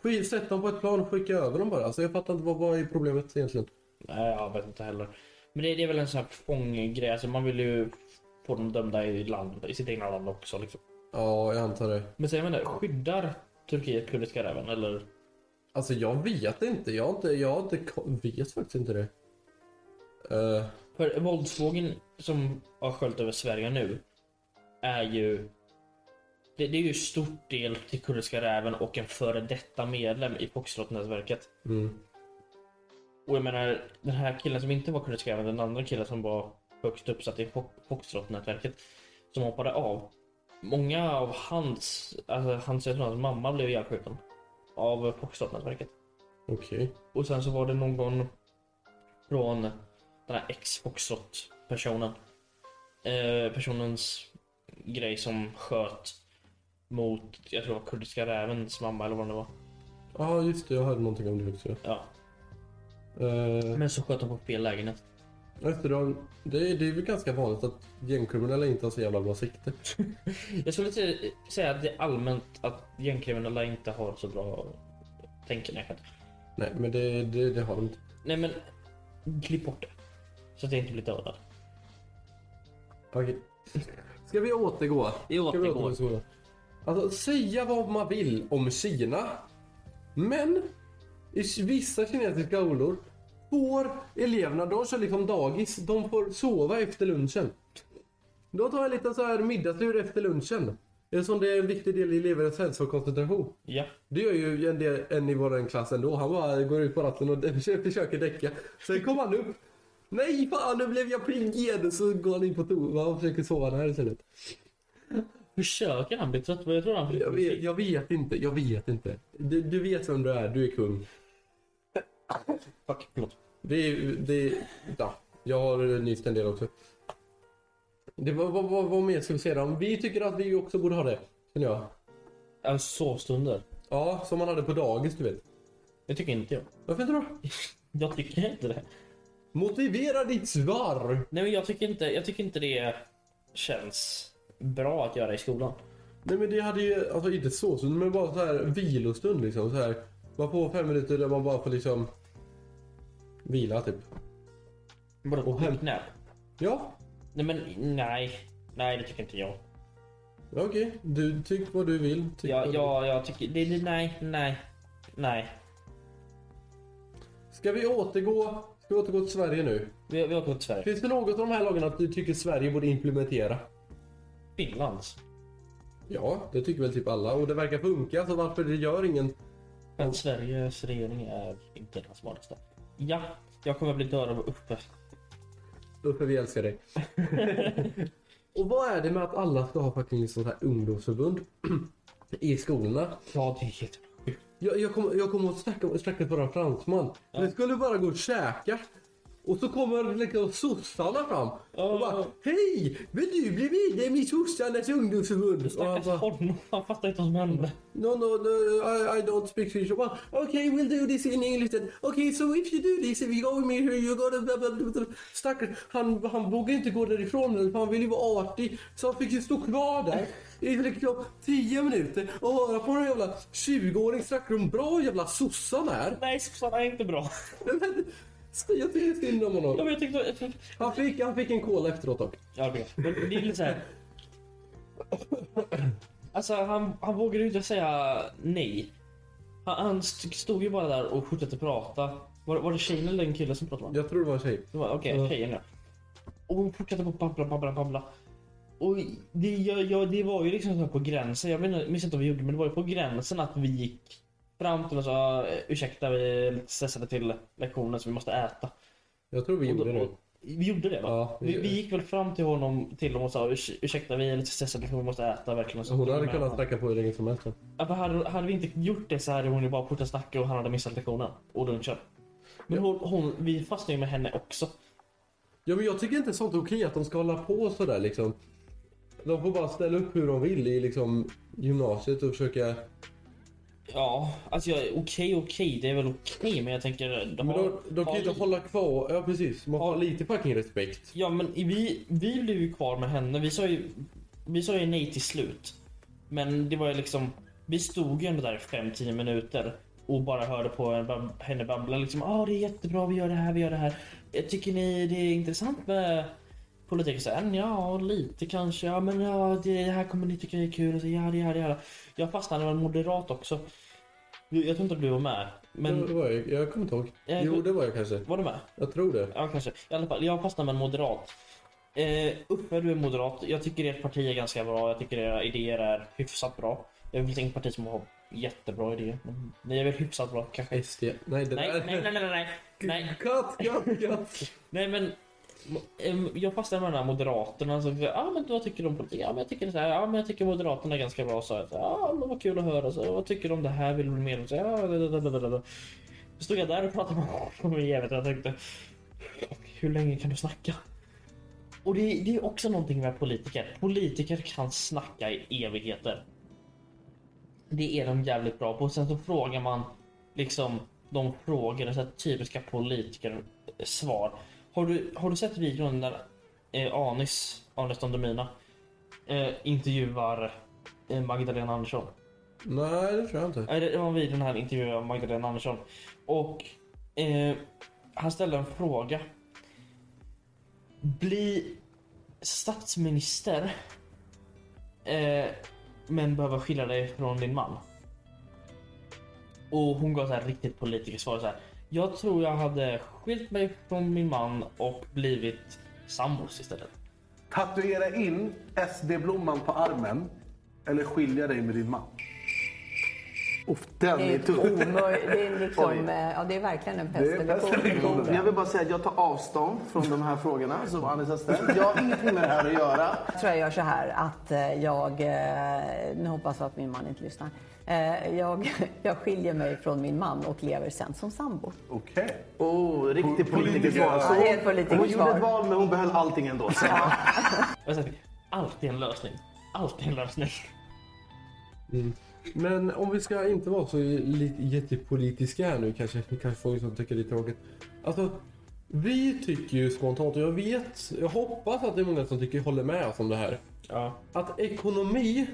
Speaker 1: Skit, sätt dem på ett plan och skicka över dem bara. Alltså, jag fattar inte, vad, vad är problemet egentligen?
Speaker 2: Nej, jag vet inte heller. Men det, det är väl en sån här fånggrej. Alltså man vill ju få dem dömda i, land, i sitt egna land också. Liksom.
Speaker 1: Ja, jag antar det.
Speaker 2: Men säger man det, skyddar Turkiet kurdiska räven? Eller?
Speaker 1: Alltså, jag vet inte. Jag, har inte, jag har inte, ko- vet faktiskt inte det. Eh,
Speaker 2: För våldsvågen som har sköljt över Sverige nu är ju... Det, det är ju stor del till kurdiska räven och en före detta medlem i Foxtrot-nätverket.
Speaker 1: mm.
Speaker 2: Och jag menar, den här killen som inte var kurdisk även den andra killen som var högst uppsatt i Fo- Foxtrot-nätverket som hoppade av. Många av hans, alltså hans, jag tror hans mamma blev ihjälskjuten av Foxtrot-nätverket.
Speaker 1: Okej.
Speaker 2: Och sen så var det någon från den här ex-Foxtrot-personen. Eh, personens grej som sköt mot, jag tror det var kurdiska rävens mamma eller vad det var.
Speaker 1: Ja, ah, just det. Jag hörde någonting om det också.
Speaker 2: Ja.
Speaker 1: Uh,
Speaker 2: Men så sköt de på fel lägenhet.
Speaker 1: efter det, det, är- det är väl ganska vanligt att gängkriminella inte har så jävla bra sikte.
Speaker 2: Jag skulle inte säga att det är allmänt att gängkriminella inte har så bra tänkande.
Speaker 1: Nej, men det, det, det har de inte.
Speaker 2: Nej men, klipp bort det. Så att jag inte blir dödad.
Speaker 1: Okej. Ska vi återgå?
Speaker 2: Vi
Speaker 1: Ska vi
Speaker 2: återgår.
Speaker 1: återgå till skolan? Alltså, säga vad man vill om Kina. Men i vissa kinesiska skolor får eleverna, de kör liksom dagis, de får sova efter lunchen. De tar en liten så här middagslur efter lunchen. Eftersom det är en viktig del i elevernas hälsa och koncentration.
Speaker 2: Ja.
Speaker 1: Det gör ju en, del, en i vår klass ändå. Han bara går ut på ratten och försöker däcka. Sen kommer han upp. Nej fan, nu blev jag pigg igen. Så går han in på toa och försöker sova där istället.
Speaker 2: Försöker han bli trött? Jag tror han
Speaker 1: Jag vet, jag vet inte, jag vet inte. Du, du vet vem du är, du är kung.
Speaker 2: Fuck, förlåt.
Speaker 1: Det är, det är, ja, jag har nyst en del också. Det, var- vad, vad, vad mer ska vi säga då? Vi tycker att vi också borde ha det, känner jag.
Speaker 2: En sovstunder.
Speaker 1: Ja, som man hade på dagis, du vet.
Speaker 2: Det tycker inte jag.
Speaker 1: Varför inte då?
Speaker 2: Jag tycker inte det.
Speaker 1: Motivera ditt svar!
Speaker 2: Nej men jag tycker inte, jag tycker inte det känns bra att göra i skolan.
Speaker 1: Nej men det hade ju, alltså inte så, så men bara så här vilostund liksom. Så här, man får fem minuter där man bara får liksom vila typ.
Speaker 2: Vadå
Speaker 1: Och hem.
Speaker 2: quick nap?
Speaker 1: Ja,
Speaker 2: Nej men nej. Nej det tycker inte jag.
Speaker 1: okej. Du tyck vad du vill. Tyck
Speaker 2: Jag,
Speaker 1: vad du-
Speaker 2: jag, jag tycker... Det, det, nej, nej, nej.
Speaker 1: Ska vi återgå? Ska vi återgå till Sverige nu?
Speaker 2: Vi, vi har gått till Sverige.
Speaker 1: Finns det något av de här lagarna att du tycker Sverige borde implementera?
Speaker 2: Finlands.
Speaker 1: Ja, det tycker väl typ alla. Och det verkar funka, så varför det gör ingen...
Speaker 2: För att Sveriges regering är inte den smartaste. Ja, jag kommer bli död av uppe.
Speaker 1: Uffe, vi älskar dig. och vad är det med att alla ska ha fucking sånt här ungdomsförbund i skolorna?
Speaker 2: Ja, det är helt sjukt.
Speaker 1: Jag, jag kommer jag kom att snacka, snacka för en fransman. Vi skulle bara gå och käka. Och så kommer liksom sossarna fram och bara
Speaker 2: Ja.
Speaker 1: Hej! Vill du bli medlem i sossarnas ungdomsförbund? Och han
Speaker 2: Stackars
Speaker 1: bara,
Speaker 2: honom. Han fattar inte vad som hände.
Speaker 1: No, no, no, I, I don't speak Swedish. Well, okay, we'll do this in English then. Okay, so if you do this, if you go with me here, you gotta... blah, blah, blah, blah. Stackars, han, han vågade inte gå därifrån, för han ville ju vara artig. Så han fick ju stå kvar där i liksom tio minuter och höra på den jävla 20-åring snacka om bra jävla sossan är.
Speaker 2: Nej, sossarna är inte bra.
Speaker 1: Men, så Jag tycker synd om
Speaker 2: Ja,
Speaker 1: honom.
Speaker 2: men jag tyckte...
Speaker 1: Han fick, han fick en cola efteråt dock.
Speaker 2: Ja, det vet jag. Men det är lite såhär... Alltså, han, han vågade ju inte säga nej. Han, han st- stod ju bara där och fortsatte prata. Var, var det tjejen eller den killen som pratade?
Speaker 1: Jag tror det var en tjej.
Speaker 2: Det var- Okej,
Speaker 1: Ja.
Speaker 2: tjejen ja. Och hon fortsatte på babbla, babbla, babbla. Och det, jag, jag, det var ju liksom så här på gränsen. Jag menar- minns inte vad vi gjorde, men det var ju på gränsen att vi gick fram till och sa eh, ursäkta, vi är lite stressade till lektionen så vi måste äta.
Speaker 1: Jag tror vi
Speaker 2: Och då-
Speaker 1: gjorde det.
Speaker 2: och- Vi gjorde det va?
Speaker 1: Ja, vi
Speaker 2: vi,
Speaker 1: gjorde
Speaker 2: vi
Speaker 1: det.
Speaker 2: gick väl fram till honom till dem och sa "Urs- ursäkta vi är lite stressade för vi måste äta verkligen. Så
Speaker 1: Hon
Speaker 2: tog
Speaker 1: hade
Speaker 2: med
Speaker 1: kunnat
Speaker 2: honom.
Speaker 1: snacka på hur länge som helst.
Speaker 2: Ja, för hade, hade vi inte gjort det så hade hon ju bara fortsatt snacka och han hade missat lektionen och lunchen. Men hon, hon, vi fastnade ju med henne också.
Speaker 1: Ja, men jag tycker inte sånt är okej att de ska hålla på sådär liksom. De får bara ställa upp hur de vill i liksom gymnasiet och försöka...
Speaker 2: Ja, alltså jag, okej okej, det är väl okej men jag tänker... De
Speaker 1: Men de, de kan ju inte hålla kvar... Ja, precis. Man får ha lite fucking respekt.
Speaker 2: Ja men vi, vi blev ju kvar med henne. Vi sa ju, vi sa ju nej till slut. Men det var ju liksom, vi stod ju ändå där i 5-10 minuter och bara hörde på en bab- henne babbla liksom. Ja ah, det är jättebra, vi gör det här, vi gör det här. Jag tycker ni det är intressant med politik? Så, här, ja, lite kanske. Ja men ja, det här kommer ni tycka är kul. Och så, ja, det, ja, det, ja. Jag fastnade med en moderat också. Jag tror inte att du var med. Men
Speaker 1: Men... Det var jag, jag kommer inte ihåg.
Speaker 2: Ja,
Speaker 1: Jo,
Speaker 2: jag-
Speaker 1: det var jag kanske.
Speaker 2: var du med?
Speaker 1: Jag tror det.
Speaker 2: Ja, kanske. I alla fall, jag fastnar med en moderat. Eh, Uffe, du är moderat. Jag tycker ert parti är ganska bra. Jag tycker era idéer är hyfsat bra. Det finns inget parti som har jättebra idéer. Men ni är väl hyfsat bra kanske?
Speaker 1: SD. Nej, det
Speaker 2: Nej,
Speaker 1: där...
Speaker 2: nej, nej, nej, nej. Nej,
Speaker 1: Cut, cut, cut.
Speaker 2: nej men. em, Jag fastnar med den här moderaterna. Så, ja, men vad tycker du om politik? Ja, men jag tycker så här. Ja, men jag tycker moderaterna är ganska bra. Så, här. ja, men vad kul att höra. Så, vad tycker du om det här? Vill du bli medlem? Så, ja, blablabla. Så stod jag där och pratade med honom i evigt. Jag tänkte, hur länge kan du snacka? Och det, det är också någonting med politiker. Politiker kan snacka i evigheter. Det är de jävligt bra på. Sen så frågar man liksom de frågorna, så här typiska politiker svar. Har du, har du sett videon där eh, Anis, Anis Don Demina, eh, intervjuar eh, Magdalena Andersson?
Speaker 1: nej, det tror jag inte.
Speaker 2: Nej, Äh, det var en video när han intervjuade Magdalena Andersson. Och eh, han ställde en fråga. Bli statsminister eh, men behöva skilja dig från din man. Och hon gav så här riktigt politikersvar så här. Jag tror jag hade skilt mig från min man och blivit sambos istället.
Speaker 5: Tatuera in SD-blomman på armen eller skilja dig med din man? Uff, den
Speaker 6: Det
Speaker 5: är
Speaker 6: är, ett
Speaker 5: tuff.
Speaker 6: omöj... det, är
Speaker 5: Oj.
Speaker 6: liksom, eh, ja, det är verkligen en
Speaker 5: Det är
Speaker 6: pestlegion.
Speaker 5: Jag vill bara säga att jag tar avstånd från de här frågorna som Anis har ställt. Jag har ingenting med det här att göra.
Speaker 6: Jag tror jag gör så här att eh, jag, eh, nu hoppas jag att min man inte lyssnar. Eh, Jag, jag skiljer mig från min man och lever sen som sambo.
Speaker 5: Okej. Oh, riktig
Speaker 6: Ja,
Speaker 5: politikersvar. Så
Speaker 6: det är ett
Speaker 5: hon, hon gjorde
Speaker 6: politikersvar.
Speaker 5: ett val men hon behöll allting ändå. Så.
Speaker 2: Jag säger, alltid en lösning. Alltid en lösning.
Speaker 1: Men om vi ska inte vara så li- jättepolitiska här nu kanske, vi kanske folk som tycker det är liksom tråkigt. Alltså, vi tycker ju spontant, och jag vet, jag hoppas att det är många som tycker håller med oss om det här.
Speaker 2: Ja,
Speaker 1: Att ekonomi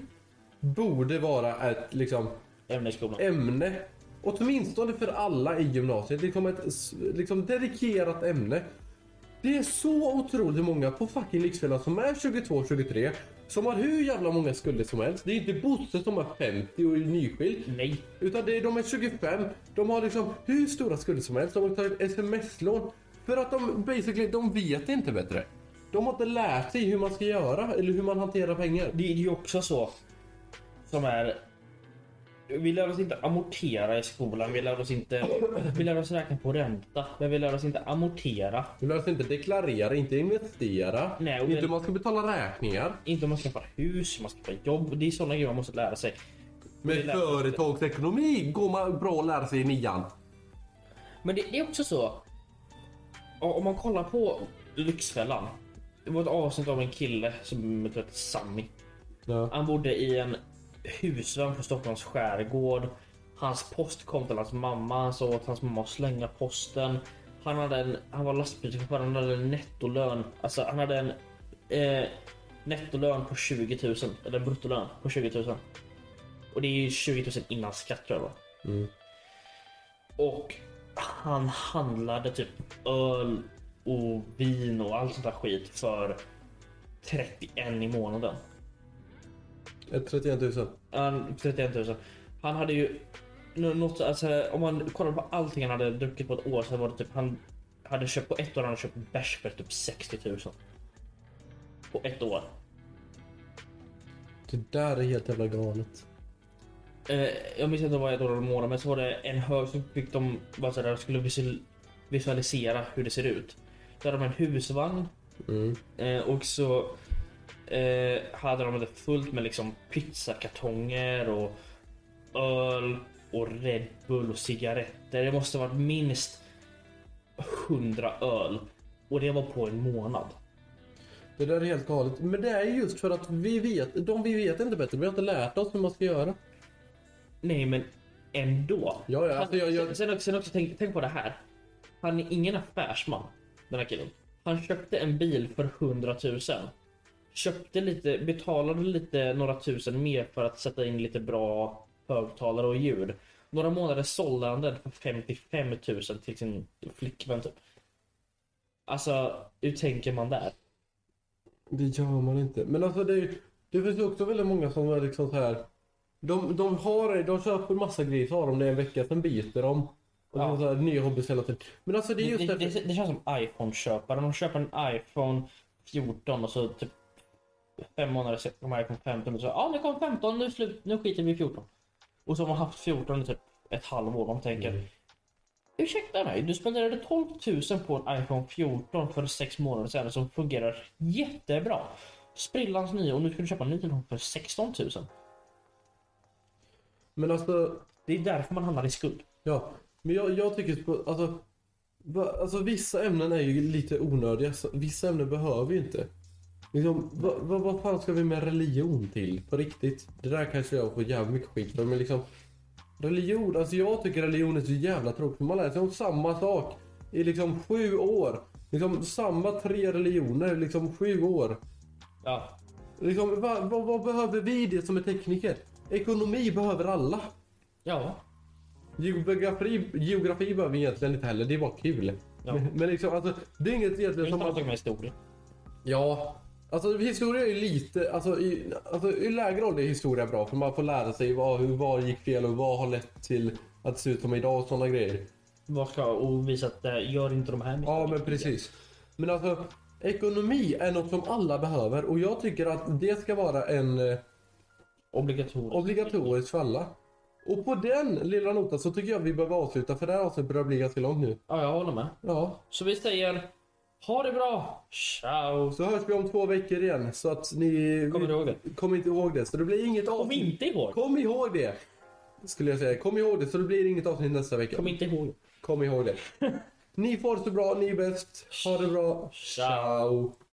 Speaker 1: borde vara ett liksom,
Speaker 2: ämne i skolan.
Speaker 1: ämne Åtminstone för alla i gymnasiet. Liksom ett s- liksom dedikerat ämne. Det är så otroligt många på fucking Lyxfällan som är 22-23 som har hur jävla många skulder som helst. Det är inte Bosse som är 50 och är nyskild.
Speaker 2: Eh, Nej.
Speaker 1: Utan det är, de är 25, de har liksom hur stora skulder som helst. De har tagit sms-lån. För att de basically, de vet inte bättre. De har inte lärt sig hur man ska göra eller hur man hanterar pengar.
Speaker 2: Det är ju också så som är... Vi lär oss inte amortera i skolan. Vi lär oss inte... Vi lär oss räkna på ränta. Men vi lär oss inte amortera.
Speaker 1: Du lär sig inte deklarera, inte investera.
Speaker 2: Nej, och
Speaker 1: inte
Speaker 2: det-
Speaker 1: hur man ska betala räkningar.
Speaker 2: Inte om man skaffar hus, man skaffar jobb. Det är sådana grejer man måste lära sig.
Speaker 1: Med
Speaker 2: Det lär-
Speaker 1: företagsekonomi går man bra att lära sig i nian.
Speaker 2: Men det, det är också så. o- Om man kollar på Lyxfällan. Det var ett avsnitt av en kille som jag tror hette Sammy.
Speaker 1: Ja.
Speaker 2: Han bodde i en husvagn på Stockholms skärgård. Hans post kom till hans mamma. Han sa åt hans mamma att slänga posten. Han, hade en, han var lastbilschaufför. Han hade en nettolön. Alltså han hade en eh, nettolön på 20 000. Eller en bruttolön på 20 000. Och det är ju 20 000 innan skatt tror jag va? Och han handlade typ öl och vin och allt sånt där skit för 31 i månaden.
Speaker 1: 31 000.
Speaker 2: Han, 31 000. Han hade ju nå- något, alltså, om man kollar på allting han hade druckit på ett år så var det typ han hade köpt på ett år han hade köpt bärs för typ 60 000. På ett år.
Speaker 1: Det där är helt jävla galet.
Speaker 2: Eh, jag minns inte vad ett år eller månad men så var det en hög som fick de bara så där, skulle visu- visualisera hur det ser ut. Så hade de en husvagn
Speaker 1: Mm.
Speaker 2: Eh, och så eh, hade de det fullt med liksom pizzakartonger och öl och Red Bull och cigaretter. Det måste ha varit minst 100 öl och det var på en månad.
Speaker 1: Det där är helt galet. Men det är just för att vi vet, de vi vet inte bättre. Vi har inte lärt oss hur man ska göra.
Speaker 2: Nej, men ändå.
Speaker 1: Ja, ja, alltså, jag- jag-
Speaker 2: Sen- Sen också, sen också tänk, tänk på det här. Han är ingen affärsman, den här killen. Han köpte en bil för 100 000. Köpte lite, betalade lite några tusen mer för att sätta in lite bra högtalare och ljud. Några månader sålde han den för 55 000 till sin flickvän typ. Alltså, hur tänker man där?
Speaker 1: Det gör man inte. Men alltså det, är ju- det finns ju också väldigt många som är liksom så här. De, de, har, de köper massa grejer, så har de det en vecka, sen byter de. Och
Speaker 2: Ja.
Speaker 1: ja. så här, nya hobbys hela tiden. Men alltså det är just
Speaker 2: det,
Speaker 1: därför-
Speaker 2: det, det känns som iPhone-köpare. De köper en iPhone 14 och så typ fem månader senare kommer iPhone 15 och så ja ah, nu kom 15, nu, är slut, nu skiter vi i 14. Och så har man haft 14 i typ ett halvår. De tänker
Speaker 1: Mm.
Speaker 2: ursäkta mig, du spenderade 12 000 på en iPhone 14 för sex månader sedan som fungerar jättebra. Sprillans ny och nu ska du köpa en ny telefon för 16 000.
Speaker 1: Men alltså
Speaker 2: Det är därför man hamnar i skuld.
Speaker 1: Ja, men jag, jag tycker på, alltså, va, alltså vissa ämnen är ju lite onödiga. så- Vissa ämnen behöver vi inte. Liksom, va, va, vad fan ska vi med religion till på riktigt? Det där kanske jag får jävligt mycket skit för. Men liksom, religion, alltså jag tycker religion är så jävla tråkigt. för Man lär sig om samma sak i liksom sju år. Liksom samma tre religioner, liksom sju år.
Speaker 2: Ja,
Speaker 1: Liksom, vad va, vad behöver vi det som är tekniker? Ekonomi behöver alla.
Speaker 2: ja,
Speaker 1: Geografi, geografi behöver vi egentligen inte heller, det är bara kul.
Speaker 2: Ja.
Speaker 1: Men, men liksom, alltså, det är inget
Speaker 2: det är
Speaker 1: egentligen som
Speaker 2: samma
Speaker 1: man...
Speaker 2: sak med typ historia.
Speaker 1: Ja. Alltså historia är ju lite, alltså i, alltså i lägre ålder är historia bra för man får lära sig vad, hur, vad gick fel och vad har lett till att det ser ut som idag och sådana grejer.
Speaker 2: Vad ska och visa att eh, gör inte de här
Speaker 1: Ja men precis. Men alltså ekonomi är något som alla behöver och jag tycker att det ska vara en eh,
Speaker 2: Obligatoriskt.
Speaker 1: obligatorisk för alla. Och på den lilla notan så tycker jag vi behöver avsluta för det här avsnittet börjar bli ganska långt nu.
Speaker 2: Ja, jag håller med.
Speaker 1: Ja,
Speaker 2: Så vi säger ha det bra. Ciao.
Speaker 1: Så hörs vi om två veckor igen. Så att ni...
Speaker 2: Kommer du ihåg det?
Speaker 1: Kom inte ihåg det. Så det blir inget
Speaker 2: Kom
Speaker 1: avsnitt.
Speaker 2: inte ihåg.
Speaker 1: Kom ihåg det. Skulle jag säga. Kom ihåg det. Så det blir inget avsnitt nästa vecka.
Speaker 2: Kom inte ihåg.
Speaker 1: Kom ihåg det. ni får det så bra. Ni är bäst. Ha det bra.
Speaker 2: Ciao.
Speaker 1: Ciao.